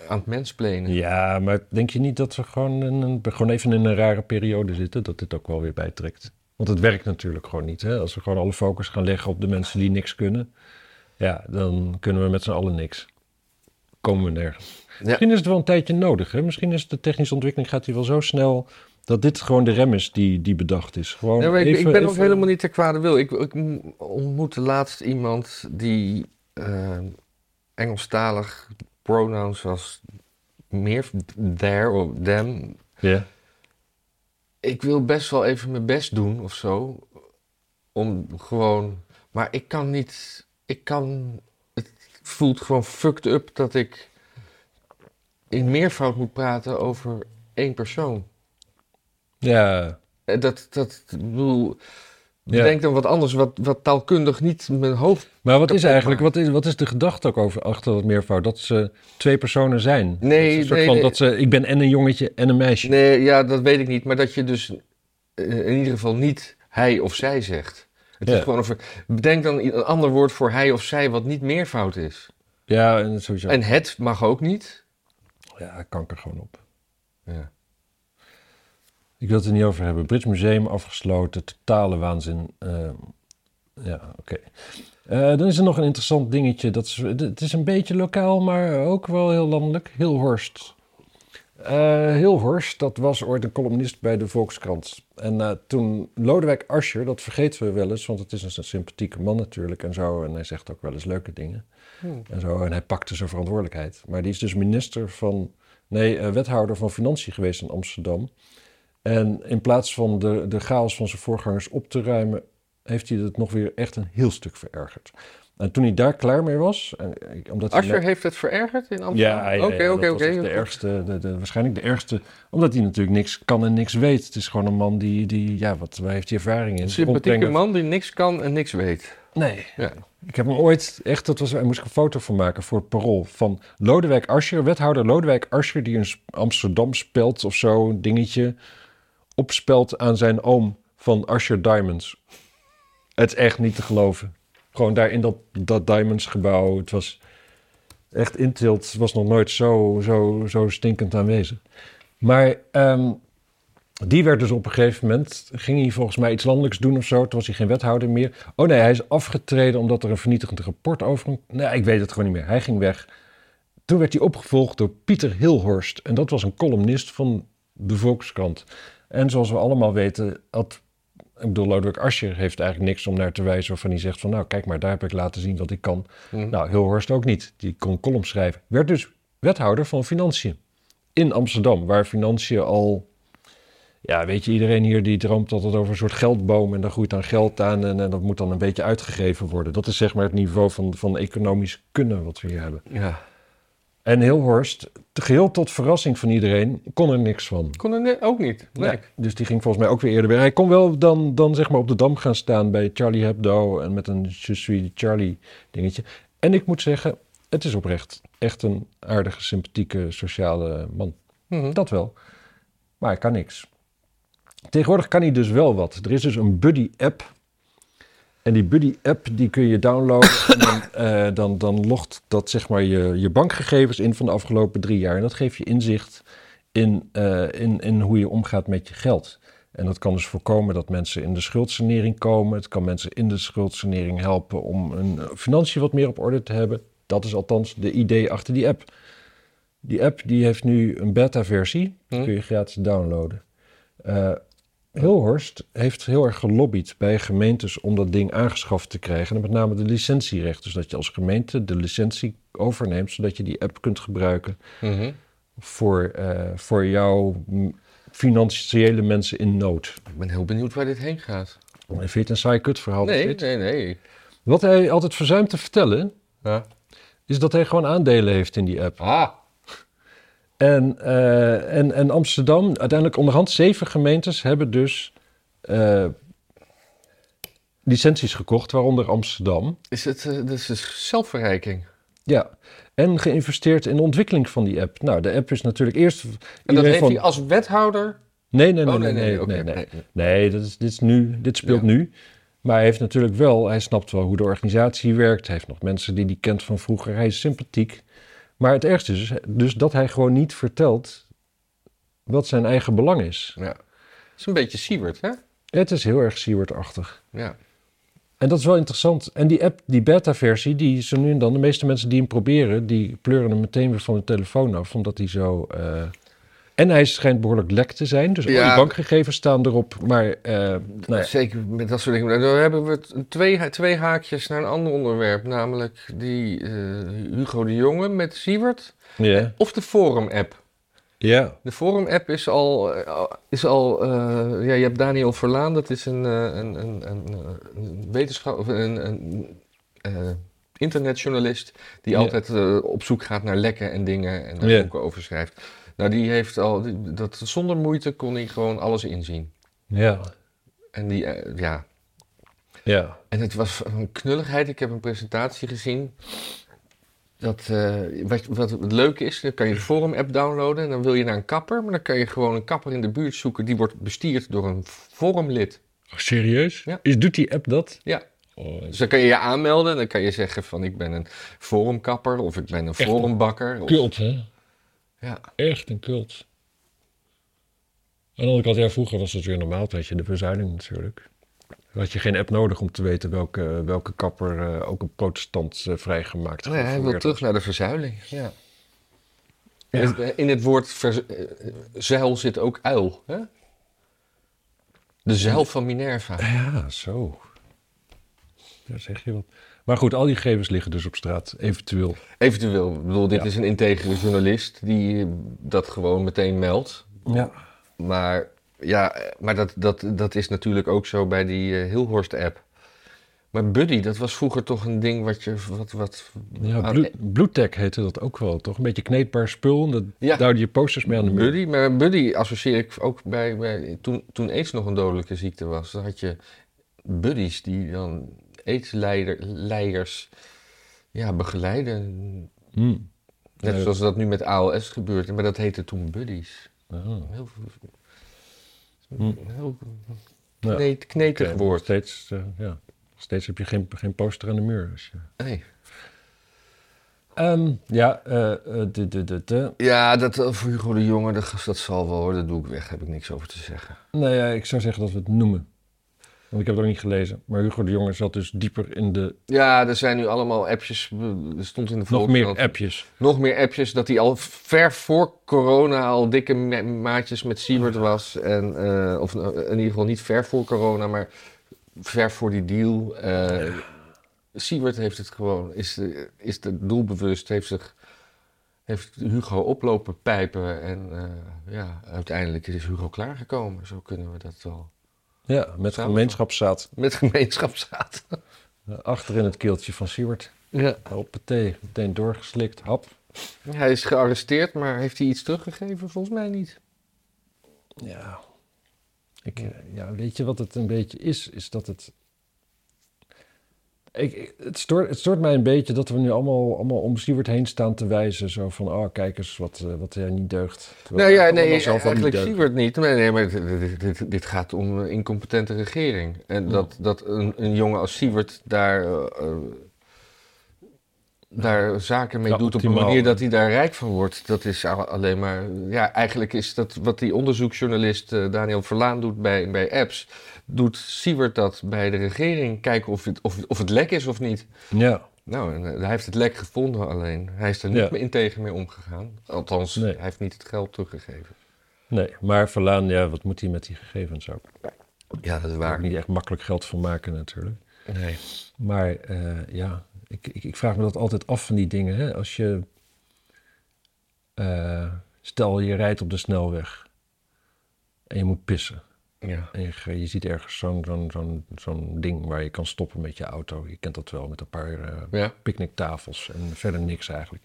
Speaker 2: aan het mensplenen.
Speaker 1: ja, maar denk je niet dat we gewoon, in een, gewoon even in een rare periode zitten? Dat dit ook wel weer bijtrekt. Want het werkt natuurlijk gewoon niet. Hè? Als we gewoon alle focus gaan leggen op de mensen die niks kunnen. Ja, dan kunnen we met z'n allen niks. Komen we nergens. Misschien is het wel een tijdje nodig. Hè? Misschien is de technische ontwikkeling gaat die wel zo snel... dat dit gewoon de rem is die, die bedacht is. Gewoon
Speaker 2: Ja, maar ik,
Speaker 1: even-
Speaker 2: ik ben ook
Speaker 1: even-
Speaker 2: helemaal niet ter kwade wil. Ik, ik ontmoette laatst iemand die eh, Engelstalig pronouns als meer there of them
Speaker 1: Ja.
Speaker 2: ik wil best wel even mijn best doen of zo. Om gewoon. Maar ik kan niet. Ik kan. Het voelt gewoon fucked up dat ik. in meervoud moet praten over één persoon.
Speaker 1: Ja.
Speaker 2: Eh, Dat. dat ik bedoel.
Speaker 1: Ja.
Speaker 2: Bedenk dan wat anders, wat, wat taalkundig niet mijn hoofd.
Speaker 1: Maar wat is
Speaker 2: Kapot
Speaker 1: eigenlijk,
Speaker 2: maken.
Speaker 1: wat is, wat is de gedachte ook over achter dat meervoud? Dat ze twee personen zijn?
Speaker 2: Nee,
Speaker 1: dat ze een soort
Speaker 2: nee,
Speaker 1: van,
Speaker 2: nee.
Speaker 1: Dat ze, ik ben en een jongetje en een meisje.
Speaker 2: Nee, ja, dat weet ik niet. Maar dat je dus eh, in ieder geval niet hij of zij zegt. Het
Speaker 1: Ja.
Speaker 2: is gewoon over. Bedenk dan een ander woord voor hij of zij wat niet meervoud is.
Speaker 1: Ja, en sowieso.
Speaker 2: En het mag ook niet.
Speaker 1: Ja, kanker gewoon op.
Speaker 2: Ja.
Speaker 1: Ik wil het er niet over hebben. Brits Museum afgesloten, totale waanzin. Ehm, ja, oké. Eh, dan is er nog een interessant dingetje. Dat is, het is een beetje lokaal, maar ook wel heel landelijk. Hilhorst. Eh Hilhorst, dat was ooit een columnist bij de Volkskrant. En eh, toen Lodewijk Asscher, dat vergeten we wel eens, want het is een sympathieke man natuurlijk en zo. En hij zegt ook wel eens leuke dingen en zo. En hij pakte zijn verantwoordelijkheid. Maar die is dus minister van, nee, eh, wethouder van Financiën geweest in Amsterdam. En in plaats van de, de chaos van zijn voorgangers op te ruimen, heeft hij het nog weer echt een heel stuk verergerd. En toen hij daar klaar mee was, en, eh, omdat hij
Speaker 2: Asscher heeft het verergerd in
Speaker 1: ja,
Speaker 2: Amsterdam?
Speaker 1: ja,
Speaker 2: oké,
Speaker 1: ja,
Speaker 2: oké,
Speaker 1: dat was
Speaker 2: oké.
Speaker 1: echt de ergste, de, de- waarschijnlijk de ergste, omdat hij natuurlijk niks kan en niks weet. Het is gewoon een man die, die ja, wat, waar heeft hij ervaring in?
Speaker 2: Een sympathieke
Speaker 1: Rondbrengen-
Speaker 2: man die niks kan en niks weet.
Speaker 1: Nee,
Speaker 2: Ja.
Speaker 1: ik heb hem ooit, echt, dat was, daar moest ik een foto van maken voor het parool. Van Lodewijk Asscher, wethouder Lodewijk Asscher, die een Sp- Amsterdam spelt of zo, een dingetje, opspelt aan zijn oom van Asscher Diamonds. Het is echt niet te geloven. Gewoon daar in dat, dat Diamonds gebouw, het was echt intilt, het was nog nooit zo, zo, zo stinkend aanwezig. Maar ehm, die werd dus op een gegeven moment, ging hij volgens mij iets landelijks doen of zo. Toen was hij geen wethouder meer. Oh nee, hij is afgetreden omdat er een vernietigend rapport over hem... Nee, ik weet het gewoon niet meer. Hij ging weg. Toen werd hij opgevolgd door Pieter Hilhorst. En dat was een columnist van de Volkskrant. En zoals we allemaal weten, had... Ik bedoel, Lodewijk Asscher heeft eigenlijk niks om naar te wijzen... waarvan hij zegt van, nou, kijk maar, daar heb ik laten zien wat ik kan.
Speaker 2: Hm.
Speaker 1: Nou, Hilhorst ook niet. Die kon columns schrijven. Werd dus wethouder van Financiën in Amsterdam, waar financiën al... Ja, weet je, iedereen hier die droomt altijd over een soort geldboom en daar groeit dan geld aan en, en dat moet dan een beetje uitgegeven worden. Dat is zeg maar het niveau van, van economisch kunnen wat we hier hebben.
Speaker 2: Ja.
Speaker 1: En Hilhorst, te- geheel tot verrassing van iedereen, kon er niks van.
Speaker 2: Kon er ne- ook niet. Nee.
Speaker 1: Nee, dus die ging volgens mij ook weer eerder weer. Hij kon wel dan, dan zeg maar op de dam gaan staan bij Charlie Hebdo en met een Je suis Charlie dingetje. En ik moet zeggen, het is oprecht echt een aardige, sympathieke, sociale man.
Speaker 2: Mhm.
Speaker 1: Dat wel. Maar hij kan niks. Tegenwoordig kan hij dus wel wat. Er is dus een buddy-app. En die buddy-app die kun je downloaden. en dan, eh, dan, dan logt dat zeg maar je, je bankgegevens in van de afgelopen drie jaar. En dat geeft je inzicht in, eh, in, in hoe je omgaat met je geld. En dat kan dus voorkomen dat mensen in de schuldsanering komen. Het kan mensen in de schuldsanering helpen om hun eh, financiën wat meer op orde te hebben. Dat is althans de idee achter die app. Die app die heeft nu een beta-versie. Die
Speaker 2: Hm.
Speaker 1: kun je gratis downloaden. Eh, Hilhorst heeft heel erg gelobbyd bij gemeentes om dat ding aangeschaft te krijgen. En met name de licentierechten. Dus dat je als gemeente de licentie overneemt, zodat je die app kunt gebruiken
Speaker 2: Mhm.
Speaker 1: voor, eh, voor jouw mm, financiële mensen in nood.
Speaker 2: Ik ben heel benieuwd waar dit heen gaat.
Speaker 1: Vind je het een saai kutverhaal? dat
Speaker 2: Nee,
Speaker 1: dit?
Speaker 2: nee, nee.
Speaker 1: Wat hij altijd verzuimt te vertellen,
Speaker 2: Ja.
Speaker 1: is dat hij gewoon aandelen heeft in die app.
Speaker 2: Ah.
Speaker 1: En, eh, en, en Amsterdam, uiteindelijk onderhand zeven gemeentes hebben dus eh, licenties gekocht, waaronder Amsterdam.
Speaker 2: Is het, eh, dat is dus zelfverrijking.
Speaker 1: Ja, en geïnvesteerd in de ontwikkeling van die app. Nou, de app is natuurlijk eerst.
Speaker 2: En dat
Speaker 1: iedereen
Speaker 2: heeft
Speaker 1: van-
Speaker 2: hij als wethouder...
Speaker 1: Nee, nee, nee,
Speaker 2: Oh,
Speaker 1: nee, nee, nee,
Speaker 2: oké,
Speaker 1: nee, Nee, dat is, dit, is nu, dit speelt
Speaker 2: Ja.
Speaker 1: nu. Maar hij heeft natuurlijk wel, hij snapt wel hoe de organisatie werkt. Hij heeft nog mensen die hij kent van vroeger. Hij is sympathiek. Maar het ergste is dus dat hij gewoon niet vertelt wat zijn eigen belang is.
Speaker 2: Ja. Het is een beetje Siebert, hè?
Speaker 1: Het is heel erg Seward-achtig.
Speaker 2: Ja.
Speaker 1: En dat is wel interessant. En die app, die beta-versie, die zo nu en dan, de meeste mensen die hem proberen, die pleuren hem meteen weer van hun telefoon af, omdat hij zo. eh, En hij schijnt behoorlijk lek te zijn. Dus al
Speaker 2: Ja.
Speaker 1: die bankgegevens staan erop. Maar eh nou,
Speaker 2: Zeker met dat soort dingen. Nou, Dan hebben we het- twee, ha- twee haakjes naar een ander onderwerp. Namelijk die eh, Hugo de Jonge met Siebert.
Speaker 1: ja.
Speaker 2: Of de Forum-app.
Speaker 1: Ja.
Speaker 2: De Forum-app is al. eh, Is al eh, ja, je hebt Daniel Verlaan, dat is een, eh, een, een, een, eh, een wetenschap. of Een, een, eh, internetjournalist die
Speaker 1: Ja.
Speaker 2: altijd eh, op zoek gaat naar lekken en dingen en daar
Speaker 1: Ja.
Speaker 2: boeken over schrijft. Nou, die heeft al. die- dat, zonder moeite kon hij gewoon alles inzien.
Speaker 1: Ja.
Speaker 2: En die, eh, ja.
Speaker 1: Ja.
Speaker 2: En het was van een knulligheid. Ik heb een presentatie gezien. Dat, eh, wat, wat het leuke is, dan kan je de Forum-app downloaden en dan wil je naar een kapper. Maar dan kan je gewoon een kapper in de buurt zoeken die wordt bestierd door een Forum-lid.
Speaker 1: Oh, serieus?
Speaker 2: Ja.
Speaker 1: Is, doet die app dat?
Speaker 2: Ja,
Speaker 1: Oh,
Speaker 2: dus dan kan je je aanmelden en dan kan je zeggen van ik ben een Forumkapper of ik ben een
Speaker 1: Echt?
Speaker 2: Forumbakker. Of,
Speaker 1: kult, hè?
Speaker 2: ja.
Speaker 1: Echt een cult. Aan de andere kant, ja, vroeger was dat weer normaal, weet je, de verzuiling natuurlijk. Dan had je geen app nodig om te weten welke, welke kapper eh, ook een protestant eh, vrijgemaakt
Speaker 2: Nee, Oh hij wil
Speaker 1: gevoerd
Speaker 2: terug
Speaker 1: had.
Speaker 2: naar de verzuiling. Ja.
Speaker 1: Ja.
Speaker 2: In, het, eh, in het woord verz- eh, zuil zit ook uil. Hè? De zuil van Minerva.
Speaker 1: Ja, zo. Daar zeg je wat. Maar goed, al die gegevens liggen dus op straat, eventueel.
Speaker 2: Eventueel, ik bedoel, dit
Speaker 1: Ja.
Speaker 2: is een integere journalist die eh, dat gewoon meteen meldt.
Speaker 1: Ja.
Speaker 2: Maar ja, eh, maar dat, dat, dat is natuurlijk ook zo bij die eh, Hilhorst-app. Maar Buddy, dat was vroeger toch een ding wat je. Wat, wat,
Speaker 1: Ja,
Speaker 2: aan-
Speaker 1: Blue, BlueTech heette dat ook wel, toch? Een beetje kneedbaar spul, en dat
Speaker 2: Ja.
Speaker 1: duwde je posters mee aan de muur.
Speaker 2: Buddy, maar Buddy associeer ik ook bij. bij toen, toen AIDS nog een dodelijke ziekte was, dan had je buddies die dan AIDS-leiders ja, begeleiden.
Speaker 1: Hm.
Speaker 2: Net
Speaker 1: Ja.
Speaker 2: zoals dat nu met ALS gebeurt, maar dat heette toen buddies.
Speaker 1: Ah.
Speaker 2: Heel,
Speaker 1: Hm.
Speaker 2: heel
Speaker 1: Ja.
Speaker 2: kneed- knetig
Speaker 1: Oké, nog
Speaker 2: woord.
Speaker 1: Steeds, eh, ja. Nog steeds heb je geen, geen poster aan de muur. Dus, ja.
Speaker 2: Nee.
Speaker 1: Ehm, ja, eh, eh, de, de, de, de.
Speaker 2: Ja, dat eh, voor Hugo de Jonge, dat, dat zal wel hoor. Dat doe ik weg, heb ik niks over te zeggen.
Speaker 1: Nou ja, ik zou zeggen dat we het noemen. Want ik heb het ook niet gelezen. Maar Hugo de Jonge zat dus dieper in de...
Speaker 2: Ja, er zijn nu allemaal appjes. eh, Er stond in de
Speaker 1: Nog
Speaker 2: Volkskrant-
Speaker 1: meer appjes.
Speaker 2: Nog meer appjes dat hij al ver voor corona al dikke ma- maatjes met Siebert was. En, eh, of eh, in ieder geval niet ver voor corona, maar ver voor die deal. Eh Siebert heeft het gewoon, is, de- is de doelbewust, heeft zich heeft Hugo oplopen pijpen. En eh, ja, uiteindelijk is Hugo klaargekomen. Zo kunnen we dat wel.
Speaker 1: Ja, met
Speaker 2: Samen.
Speaker 1: gemeenschapszaad.
Speaker 2: Met gemeenschapsraad.
Speaker 1: Eh, Achter in het keeltje van Siewert.
Speaker 2: Ja.
Speaker 1: Hoppatee, meteen doorgeslikt. Hap.
Speaker 2: Hij is gearresteerd, maar heeft hij iets teruggegeven? Volgens mij niet.
Speaker 1: Ja. Ik, eh, ja, weet je wat het een beetje is? Is dat het. Ik, ik- het, stoort, het stoort mij een beetje dat we nu allemaal, allemaal om Siewert heen staan te wijzen. Zo van, oh, kijk eens wat, eh, wat hij niet deugt. Terwijl
Speaker 2: Nou ja,
Speaker 1: we allemaal
Speaker 2: nee,
Speaker 1: zelf wel niet
Speaker 2: eigenlijk
Speaker 1: deugen.
Speaker 2: Siewert niet. Nee, nee, maar dit- dit, dit, dit gaat om eh, incompetente regering. En dat, dat een, een jongen als Siewert daar, eh, eh, daar zaken mee
Speaker 1: Ja,
Speaker 2: doet op
Speaker 1: optimaal.
Speaker 2: een manier dat hij daar rijk van wordt, dat is al- alleen maar. Ja, eigenlijk is dat wat die onderzoeksjournalist eh, Daniel Verlaan doet bij, bij apps. Doet Siewert dat bij de regering? Kijken of het, of, of het lek is of niet.
Speaker 1: Ja,
Speaker 2: Nou, en, eh, hij heeft het lek gevonden alleen. Hij is er niet
Speaker 1: Ja.
Speaker 2: meer integer mee omgegaan. Althans,
Speaker 1: Nee.
Speaker 2: hij heeft niet het geld teruggegeven.
Speaker 1: nee. Maar Verlaan, ja, wat moet hij met die gegevens ook?
Speaker 2: Ja, dat is
Speaker 1: Daar niet echt makkelijk geld van maken natuurlijk.
Speaker 2: Nee.
Speaker 1: Maar eh, ja, ik, ik, ik vraag me dat altijd af van die dingen. Hè? Als je, eh, stel je rijdt op de snelweg en je moet pissen.
Speaker 2: Ja.
Speaker 1: En je, ge- je ziet ergens zo'n zo'n zo'n zo'n ding waar je kan stoppen met je auto. Je kent dat wel met een paar eh,
Speaker 2: Ja.
Speaker 1: picknicktafels en verder niks eigenlijk.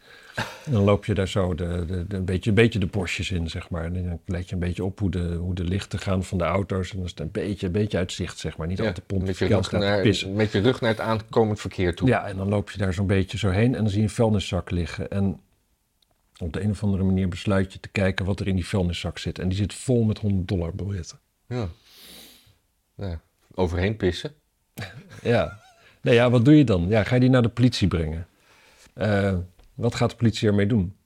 Speaker 1: En dan loop je daar zo de, de, de- een, beetje, een beetje de bosjes in, zeg maar. En dan let je een beetje op hoe de, hoe de lichten gaan van de auto's. En dan is het een beetje, een beetje uit zicht, zeg maar. Niet altijd al te
Speaker 2: met, je
Speaker 1: pompen,
Speaker 2: rug
Speaker 1: gaat
Speaker 2: naar,
Speaker 1: pissen.
Speaker 2: met je rug naar het aankomend verkeer toe.
Speaker 1: Ja, en dan loop je daar zo'n beetje zo heen en dan zie je een vuilniszak liggen. En op de een of andere manier besluit je te kijken wat er in die vuilniszak zit. En die zit vol met 100 dollar biljetten.
Speaker 2: Ja. Ja. Overheen pissen.
Speaker 1: Ja. Nee, ja, wat doe je dan? Ja, ga je die naar de politie brengen? Eh, wat gaat de politie ermee doen?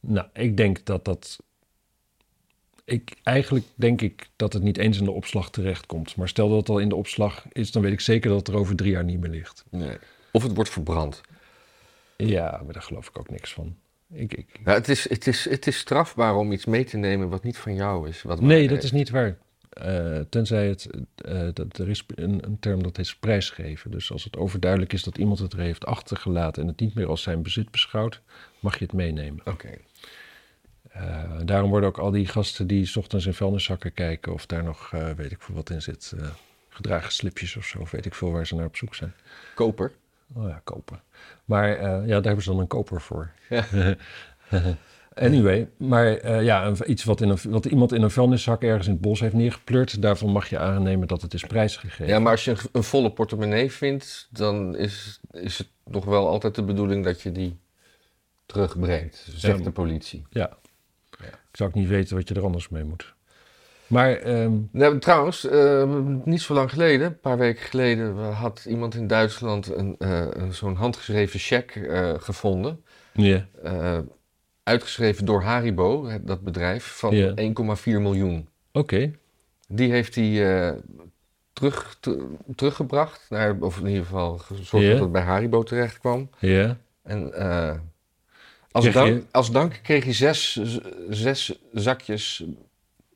Speaker 1: Nou, ik denk dat dat. Ik, eigenlijk denk ik dat het niet eens in de opslag terechtkomt. Maar stel dat het al in de opslag is, dan weet ik zeker dat het er over drie jaar niet meer ligt.
Speaker 2: Nee. Of het wordt verbrand.
Speaker 1: Ja, maar daar geloof ik ook niks van. Ik, ik...
Speaker 2: Ja, het, is, het, is, het is strafbaar om iets mee te nemen wat niet van jou is. Wat
Speaker 1: Nee, dat is niet waar. Eh, tenzij het. eh, dat, er is een, een term dat heet prijsgeven. Dus als het overduidelijk is dat iemand het er heeft achtergelaten en het niet meer als zijn bezit beschouwt, mag je het meenemen.
Speaker 2: Oké.
Speaker 1: Eh, daarom worden ook al die gasten die 's ochtends in vuilniszakken kijken of daar nog eh, weet ik veel wat in zit, eh, gedragen slipjes of zo, of weet ik veel waar ze naar op zoek zijn.
Speaker 2: Koper.
Speaker 1: Oh ja, kopen. Maar eh, ja, daar hebben ze dan een koper voor.
Speaker 2: Ja.
Speaker 1: anyway, maar eh, ja, een- iets wat, in een, wat iemand in een vuilniszak ergens in het bos heeft neergepleurd, daarvan mag je aannemen dat het is prijsgegeven.
Speaker 2: Ja, maar als je een, een volle portemonnee vindt, dan is, is het nog wel altijd de bedoeling dat je die terugbrengt, zegt
Speaker 1: Ja.
Speaker 2: de politie.
Speaker 1: Ja.
Speaker 2: Ja.
Speaker 1: Ik zou ook niet weten wat je er anders mee moet. Maar ehm,
Speaker 2: Nou, trouwens, eh, niet zo lang geleden, een paar weken geleden, eh, had iemand in Duitsland een, eh, een- zo'n handgeschreven cheque eh, gevonden.
Speaker 1: ja,
Speaker 2: eh, uitgeschreven door Haribo, het- dat bedrijf, van
Speaker 1: Ja.
Speaker 2: 1,4 miljoen.
Speaker 1: oké.
Speaker 2: Die heeft hij eh, terug, te- teruggebracht, naar, of in ieder geval gezorgd
Speaker 1: Ja.
Speaker 2: dat het bij Haribo terecht kwam.
Speaker 1: Ja.
Speaker 2: En eh, als,
Speaker 1: Kreeg
Speaker 2: dank,
Speaker 1: je-
Speaker 2: als dank kreeg hij zes, z- zes zakjes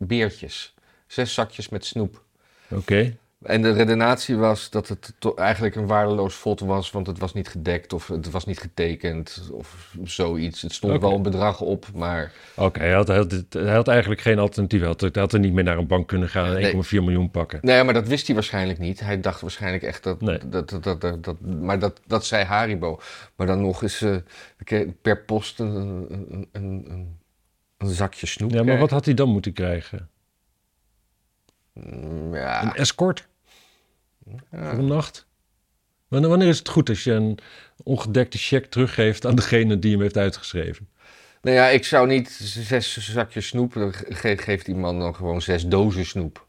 Speaker 2: beertjes. Zes zakjes met snoep.
Speaker 1: Oké.
Speaker 2: En de redenatie was dat het to- eigenlijk een waardeloos fot was, want het was niet gedekt of het was niet getekend of zoiets. Het stond
Speaker 1: Oké.
Speaker 2: wel een bedrag op, maar
Speaker 1: Oké, hij, had, hij had- hij had eigenlijk geen alternatief. Hij had, hij had er niet meer naar een bank kunnen gaan en
Speaker 2: Nee.
Speaker 1: 1,4 miljoen pakken.
Speaker 2: Nou ja, maar dat wist hij waarschijnlijk niet. Hij dacht waarschijnlijk echt dat.
Speaker 1: Nee.
Speaker 2: dat, dat, dat, dat, dat- maar dat, dat zei Haribo. Maar dan nog eens eh, ke- per post een, een, een, een, een zakje snoep.
Speaker 1: Ja, maar
Speaker 2: krijgen.
Speaker 1: wat had hij dan moeten krijgen?
Speaker 2: Mm, Ja,
Speaker 1: Een escort? Voor een nacht? Wanneer wanneer is het goed als je een ongedekte cheque teruggeeft aan degene die hem heeft uitgeschreven?
Speaker 2: nou ja, ik zou niet zes zakjes snoep. Dan ge- geeft die man dan gewoon zes dozen snoep.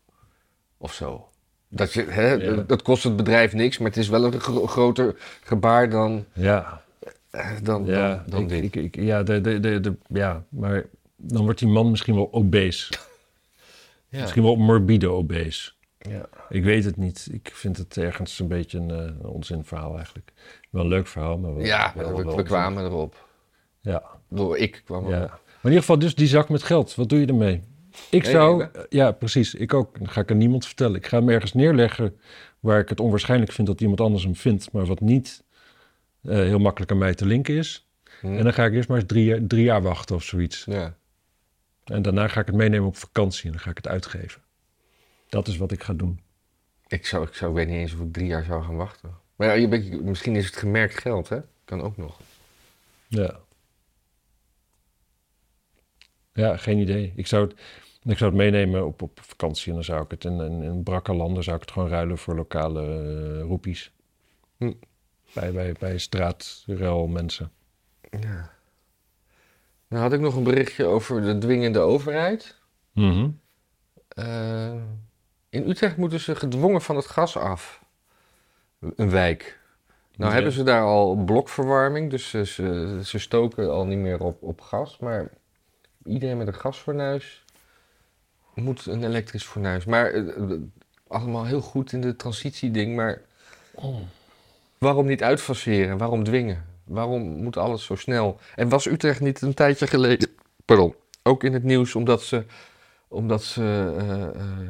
Speaker 2: Of zo. Dat, je, hè,
Speaker 1: Ja.
Speaker 2: dat kost het bedrijf niks, maar het is wel een gro- groter gebaar dan,
Speaker 1: Ja,
Speaker 2: eh, dan,
Speaker 1: ja,
Speaker 2: dan, dan
Speaker 1: ik-
Speaker 2: dit.
Speaker 1: ik- ik- ja, de, de, de, de- ja, maar dan wordt die man misschien wel obese.
Speaker 2: Ja.
Speaker 1: Misschien wel morbide obese.
Speaker 2: Ja.
Speaker 1: Ik weet het niet. Ik vind het ergens een beetje een onzinverhaal onzin verhaal eigenlijk. Wel een leuk verhaal, maar wel,
Speaker 2: Ja,
Speaker 1: wel,
Speaker 2: we,
Speaker 1: wel-
Speaker 2: we kwamen erop.
Speaker 1: Ja.
Speaker 2: Ik bedoel, Ik kwam
Speaker 1: Ja.
Speaker 2: erop.
Speaker 1: Maar in ieder geval, dus die zak met geld, wat doe je ermee? Ik zou,
Speaker 2: Meenemen?
Speaker 1: ja precies, ik ook. Dan ga ik aan niemand vertellen. Ik ga hem ergens neerleggen waar ik het onwaarschijnlijk vind dat iemand anders hem vindt, maar wat niet eh, heel makkelijk aan mij te linken is.
Speaker 2: Hmm.
Speaker 1: En dan ga ik eerst maar eens drie, jaar- drie jaar wachten of zoiets.
Speaker 2: Ja.
Speaker 1: En daarna ga ik het meenemen op vakantie en dan ga ik het uitgeven. Dat is wat ik ga doen.
Speaker 2: Ik zou, ik zou, ik weet niet eens of ik drie jaar zou gaan wachten. Maar ja, je bent- misschien is het gemerkt geld, hè? Kan ook nog.
Speaker 1: Ja. Ja, geen idee. Ik zou het, ik zou het meenemen op, op vakantie en dan zou ik het in, in, in brakke landen zou ik het gewoon ruilen voor lokale eh, roepies.
Speaker 2: Hm.
Speaker 1: Bij, bij, bij straatruil mensen.
Speaker 2: Ja. Dan had ik nog een berichtje over de dwingende overheid. Eh, in Utrecht moeten ze gedwongen van het gas af. Een wijk. Nou
Speaker 1: Ja.
Speaker 2: hebben ze daar al blokverwarming, dus ze, ze, ze stoken al niet meer op, op gas. Maar iedereen met een gasfornuis moet een elektrisch fornuis. Maar eh, eh, allemaal heel goed in de transitieding, maar
Speaker 1: Oh.
Speaker 2: Waarom niet uitfaceren? Waarom dwingen? Waarom moet alles zo snel? En was Utrecht niet een tijdje geleden, pardon, ook in het nieuws omdat ze, omdat ze eh, eh,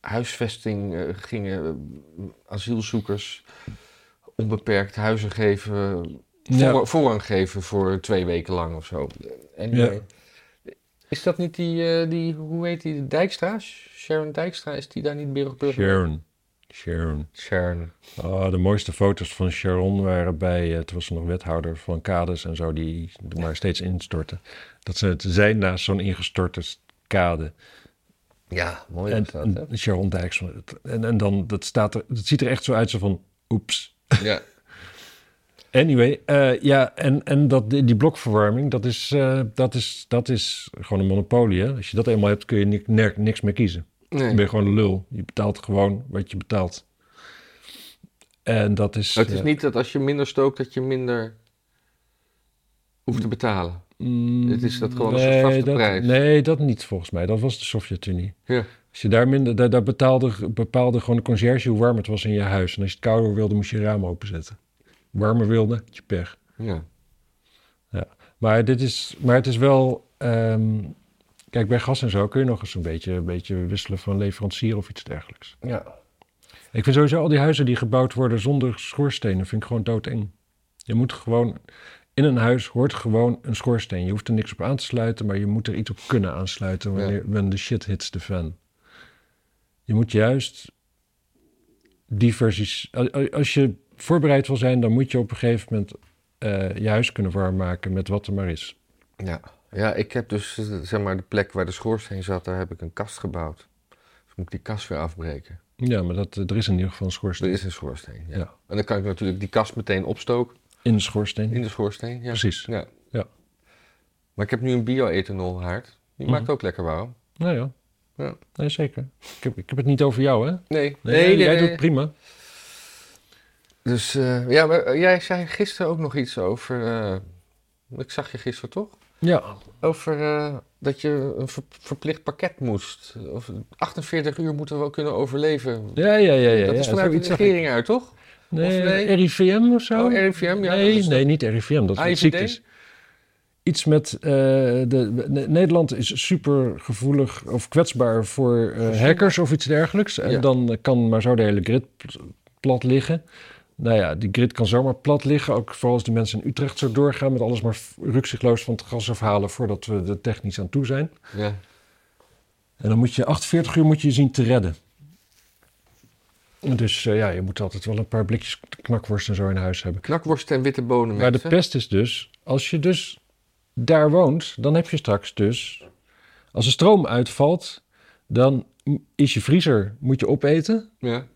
Speaker 2: huisvesting eh, gingen, eh, asielzoekers onbeperkt huizen geven,
Speaker 1: Ja.
Speaker 2: voor- voorrang geven voor twee weken lang of zo. En
Speaker 1: Ja.
Speaker 2: eh, is dat niet die, eh, die, hoe heet die, Dijkstra? Sharon Dijkstra, is die daar niet burgemeester?
Speaker 1: Sharon. Sharon.
Speaker 2: Sharon.
Speaker 1: Ah, de mooiste foto's van Sharon waren bij, eh, toen was ze nog wethouder van kades en zo, die er maar steeds instorten. Dat ze het zijn naast zo'n ingestorte kade.
Speaker 2: Ja, mooi
Speaker 1: En,
Speaker 2: is dat, hè?
Speaker 1: en Sharon Dijks. En, en dan, dat, staat er, dat ziet er echt zo uit, zo van, oeps.
Speaker 2: Ja.
Speaker 1: Anyway, eh, ja, en, en dat, die die blokverwarming, dat is, eh, dat, is, dat is gewoon een monopolie. Hè? Als je dat eenmaal hebt, kun je ni- ner- niks meer kiezen. Dan ben
Speaker 2: Nee.
Speaker 1: je gewoon een lul. Je betaalt gewoon wat je betaalt. En dat is...
Speaker 2: Het is
Speaker 1: eh,
Speaker 2: niet dat als je minder stookt, dat je minder hoeft te betalen.
Speaker 1: mm,
Speaker 2: het is dat gewoon een soort vaste
Speaker 1: dat,
Speaker 2: prijs.
Speaker 1: Nee, dat niet volgens mij. Dat was de Sovjet-Unie.
Speaker 2: Ja.
Speaker 1: Als je daar minder... Daar, daar betaalde, bepaalde gewoon de conciërge hoe warm het was in je huis. En als je het kouder wilde, moest je je raam openzetten. Warmer wilde, had je pech.
Speaker 2: ja.
Speaker 1: Maar, dit is, maar het is wel. ehm, kijk, bij gas en zo kun je nog eens een beetje, een beetje wisselen van leverancier of iets dergelijks.
Speaker 2: ja.
Speaker 1: Ik vind sowieso al die huizen die gebouwd worden zonder schoorstenen, vind ik gewoon doodeng. Je moet gewoon in een huis hoort gewoon een schoorsteen. Je hoeft er niks op aan te sluiten, maar je moet er iets op kunnen aansluiten wanneer when the shit hits the fan. Je moet juist die versies. al- al- Als je voorbereid wil zijn, dan moet je op een gegeven moment eh, je huis kunnen warm maken met wat er maar is.
Speaker 2: Ja. ja, ik heb dus eh, zeg maar de plek waar de schoorsteen zat, daar heb ik een kast gebouwd. Dus moet ik die kast weer afbreken.
Speaker 1: Ja, maar dat, eh, er is in ieder geval een
Speaker 2: Er
Speaker 1: schoorsteen.
Speaker 2: is een schoorsteen. Ja.
Speaker 1: Ja.
Speaker 2: En dan kan ik natuurlijk die kast meteen opstoken
Speaker 1: In de schoorsteen.
Speaker 2: in de schoorsteen. Ja.
Speaker 1: Precies.
Speaker 2: Ja.
Speaker 1: Ja.
Speaker 2: Maar ik heb nu een bio-ethanol haard. Die
Speaker 1: Mhm.
Speaker 2: maakt ook lekker warm.
Speaker 1: Nou ja.
Speaker 2: Ja.
Speaker 1: Nee, zeker. Ik heb, ik heb het niet over jou, hè?
Speaker 2: Nee,
Speaker 1: Nee, jij doet het prima.
Speaker 2: Dus eh, ja, maar eh, jij zei gisteren ook nog iets over. eh, ik zag je gisteren toch?
Speaker 1: Ja,
Speaker 2: Over eh, dat je een ver- verplicht pakket moest. Of 48 uur moeten we wel kunnen overleven.
Speaker 1: ja, ja, ja. ja
Speaker 2: dat is
Speaker 1: ja,
Speaker 2: vanuit de
Speaker 1: zoiets zag ik.
Speaker 2: regering uit, toch?
Speaker 1: Nee,
Speaker 2: Of nee?
Speaker 1: RIVM of zo?
Speaker 2: Oh, RIVM, ja.
Speaker 1: nee,
Speaker 2: dat is
Speaker 1: nee, niet RIVM, dat is
Speaker 2: AIVD?
Speaker 1: wat ziek is. Iets met, eh, de, Ne- Nederland is super gevoelig of kwetsbaar voor eh, hackers of iets dergelijks. En
Speaker 2: Ja.
Speaker 1: dan eh, kan maar zo de hele grid pl- plat liggen. Nou ja, die grid kan zomaar plat liggen. Ook vooral als de mensen in Utrecht zo doorgaan met alles maar f- rukzichtloos van het gas afhalen voordat we er technisch aan toe zijn.
Speaker 2: Ja.
Speaker 1: En dan moet je 48 uur moet je je zien te redden. Dus eh, ja, je moet altijd wel een paar blikjes knakworst en zo in huis hebben.
Speaker 2: Knakworst en witte bonen,
Speaker 1: Maar de
Speaker 2: mensen.
Speaker 1: pest is dus, als je dus daar woont, dan heb je straks dus, als de stroom uitvalt, dan m- is je vriezer, moet je opeten,
Speaker 2: Ja.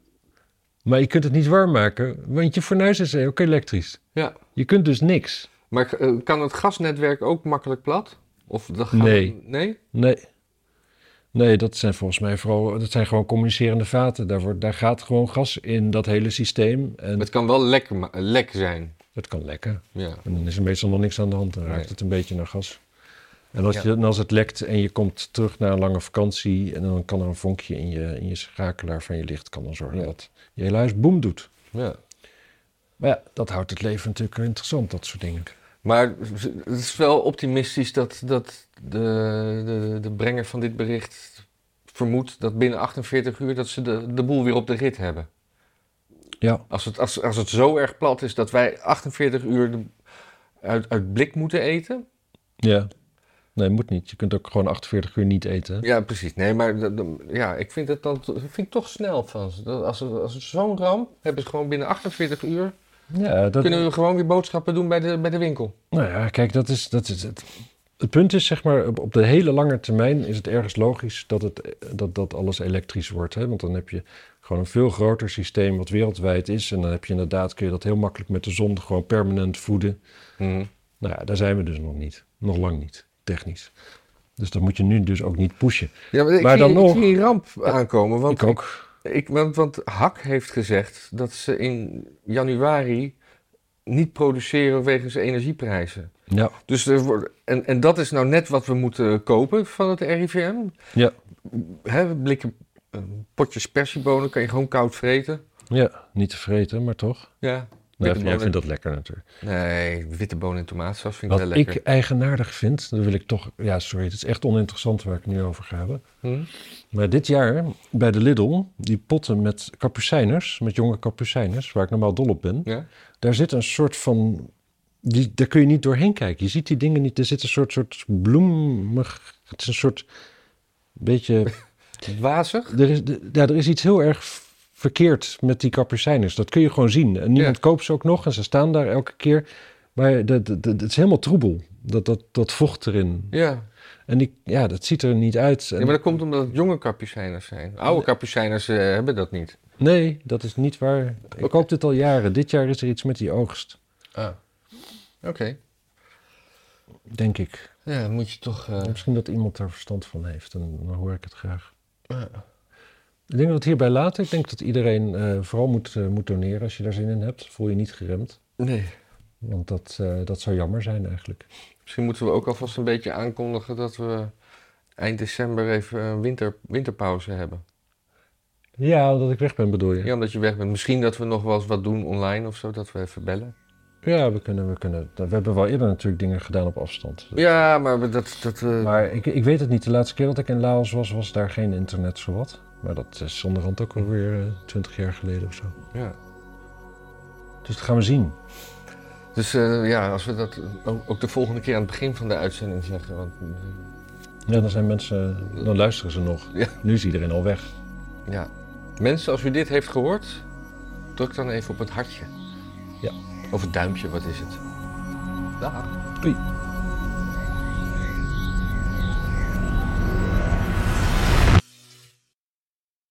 Speaker 1: maar je kunt het niet warm maken, want je fornuis is eh, ook elektrisch.
Speaker 2: ja.
Speaker 1: Je kunt dus niks.
Speaker 2: Maar eh, kan het gasnetwerk ook makkelijk plat? Of dat gaat-
Speaker 1: Nee.
Speaker 2: Nee?
Speaker 1: Nee. Nee, dat zijn volgens mij vooral, dat zijn gewoon communicerende vaten. Daar, wordt, daar gaat gewoon gas in dat hele systeem. En
Speaker 2: Het kan wel lek, ma- lek zijn.
Speaker 1: het kan lekken.
Speaker 2: Ja.
Speaker 1: En dan is er meestal nog niks aan de hand. Dan raakt
Speaker 2: Nee.
Speaker 1: het een beetje naar gas. En als,
Speaker 2: Ja.
Speaker 1: je, en als het lekt en je komt terug na een lange vakantie... en dan kan er een vonkje in je, in je schakelaar van je licht... kan dan zorgen
Speaker 2: Ja.
Speaker 1: dat je hele huis boem doet.
Speaker 2: ja.
Speaker 1: Maar ja, dat houdt het leven natuurlijk interessant, dat soort dingen.
Speaker 2: Maar het is wel optimistisch dat, dat de, de, de brenger van dit bericht vermoedt dat binnen 48 uur dat ze de, de boel weer op de rit hebben.
Speaker 1: Ja,
Speaker 2: Als het, als, als het zo erg plat is dat wij 48 uur de- uit, uit blik moeten eten.
Speaker 1: ja. Nee, moet niet. Je kunt ook gewoon 48 uur niet eten.
Speaker 2: Ja, precies. Nee, maar dat- dat- ja, ik vind het dan to- vind ik toch snel van ze. Dat Als, het- als het zo'n ramp hebben ze gewoon binnen 48 uur.
Speaker 1: Ja, dat,
Speaker 2: Kunnen we gewoon weer boodschappen doen bij de, bij de winkel.
Speaker 1: Nou ja, kijk, dat is, dat is het. Het punt is, zeg maar, op- op de hele lange termijn is het ergens logisch dat, het, dat, dat alles elektrisch wordt. Hè? Want dan heb je gewoon een veel groter systeem wat wereldwijd is. En dan heb je inderdaad, kun je dat heel makkelijk met de zon gewoon permanent voeden. Nou ja, daar zijn we dus nog niet. Nog lang niet, technisch. Dus dat moet je nu dus ook niet pushen.
Speaker 2: Ja, maar ik,
Speaker 1: Maar
Speaker 2: zie,
Speaker 1: dan
Speaker 2: ik
Speaker 1: nog-
Speaker 2: zie een ramp aankomen. Want
Speaker 1: Ik ook.
Speaker 2: Ik, want, want Hak heeft gezegd dat ze in januari niet produceren wegens energieprijzen.
Speaker 1: Ja,
Speaker 2: Dus er wordt, en, en dat is nou net wat we moeten kopen van het RIVM.
Speaker 1: ja,
Speaker 2: Hè, blikken eh, potjes persiebonen kan je gewoon koud vreten.
Speaker 1: ja. Niet te vreten, maar toch.
Speaker 2: Ja.
Speaker 1: Nee,
Speaker 2: Witte
Speaker 1: jij
Speaker 2: bonen.
Speaker 1: vindt dat lekker natuurlijk.
Speaker 2: Nee, witte bonen en tomaatsaus vind ik
Speaker 1: Wat
Speaker 2: wel
Speaker 1: ik
Speaker 2: lekker.
Speaker 1: eigenaardig vind, dat wil ik toch... Ja, sorry, het is echt oninteressant waar ik het nu over ga hebben.
Speaker 2: Hm?
Speaker 1: Maar dit jaar bij de Lidl, die potten met kapucijners, met jonge kapucijners, waar ik normaal dol op ben,
Speaker 2: Ja?
Speaker 1: daar zit een soort van. Die, daar kun je niet doorheen kijken. Je ziet die dingen niet. Er zit een soort, soort bloemig. Het is een soort. Beetje.
Speaker 2: Wazig?
Speaker 1: Er is, de- ja, er is iets heel erg v- verkeerd met die kapucijners. Dat kun je gewoon zien. En niemand
Speaker 2: Ja.
Speaker 1: koopt ze ook nog en ze staan daar elke keer. Maar dat, dat, dat- het is helemaal troebel. Dat, dat, dat vocht erin.
Speaker 2: Ja.
Speaker 1: En ik, ja, dat ziet er niet uit. En-
Speaker 2: ja, maar dat komt omdat het jonge kapucijners zijn. Oude kapucijners eh, hebben dat niet.
Speaker 1: Nee, dat is niet waar. Ik koop dit al jaren. Dit jaar is er iets met die oogst,
Speaker 2: Ah. Oké.
Speaker 1: denk ik.
Speaker 2: Ja, dan moet je toch... eh,
Speaker 1: Misschien dat iemand daar verstand van heeft en dan hoor ik het graag. Ik denk dat we het hierbij laten. Ik denk dat iedereen eh, vooral moet, eh, moet doneren als je daar zin in hebt. Voel je niet geremd.
Speaker 2: Nee.
Speaker 1: Want dat, eh, dat zou jammer zijn eigenlijk.
Speaker 2: Misschien moeten we ook alvast een beetje aankondigen dat we eind december even een winter, winterpauze hebben.
Speaker 1: Ja, omdat ik weg ben bedoel je?
Speaker 2: Ja. omdat je weg bent. Misschien dat we nog wel eens wat doen online of zo, dat we even bellen.
Speaker 1: Ja, we kunnen, we kunnen. We hebben wel eerder natuurlijk dingen gedaan op afstand.
Speaker 2: Ja, maar we- dat... dat eh,
Speaker 1: Maar ik, ik weet het niet. De laatste keer dat ik in Laos was, was daar geen internet zowat. Maar dat is onderhand ook eh, alweer twintig jaar geleden of zo.
Speaker 2: ja.
Speaker 1: Dus dat gaan we zien.
Speaker 2: Dus eh, ja, als we dat ook, ook de volgende keer aan het begin van de uitzending zeggen. Want eh,
Speaker 1: Ja, dan zijn mensen, dan luisteren ze nog.
Speaker 2: Ja.
Speaker 1: Nu is iedereen al weg.
Speaker 2: ja. Mensen, als u dit heeft gehoord, druk dan even op het hartje.
Speaker 1: Ja.
Speaker 2: Of het duimpje, wat is het? Dag.
Speaker 1: Doei.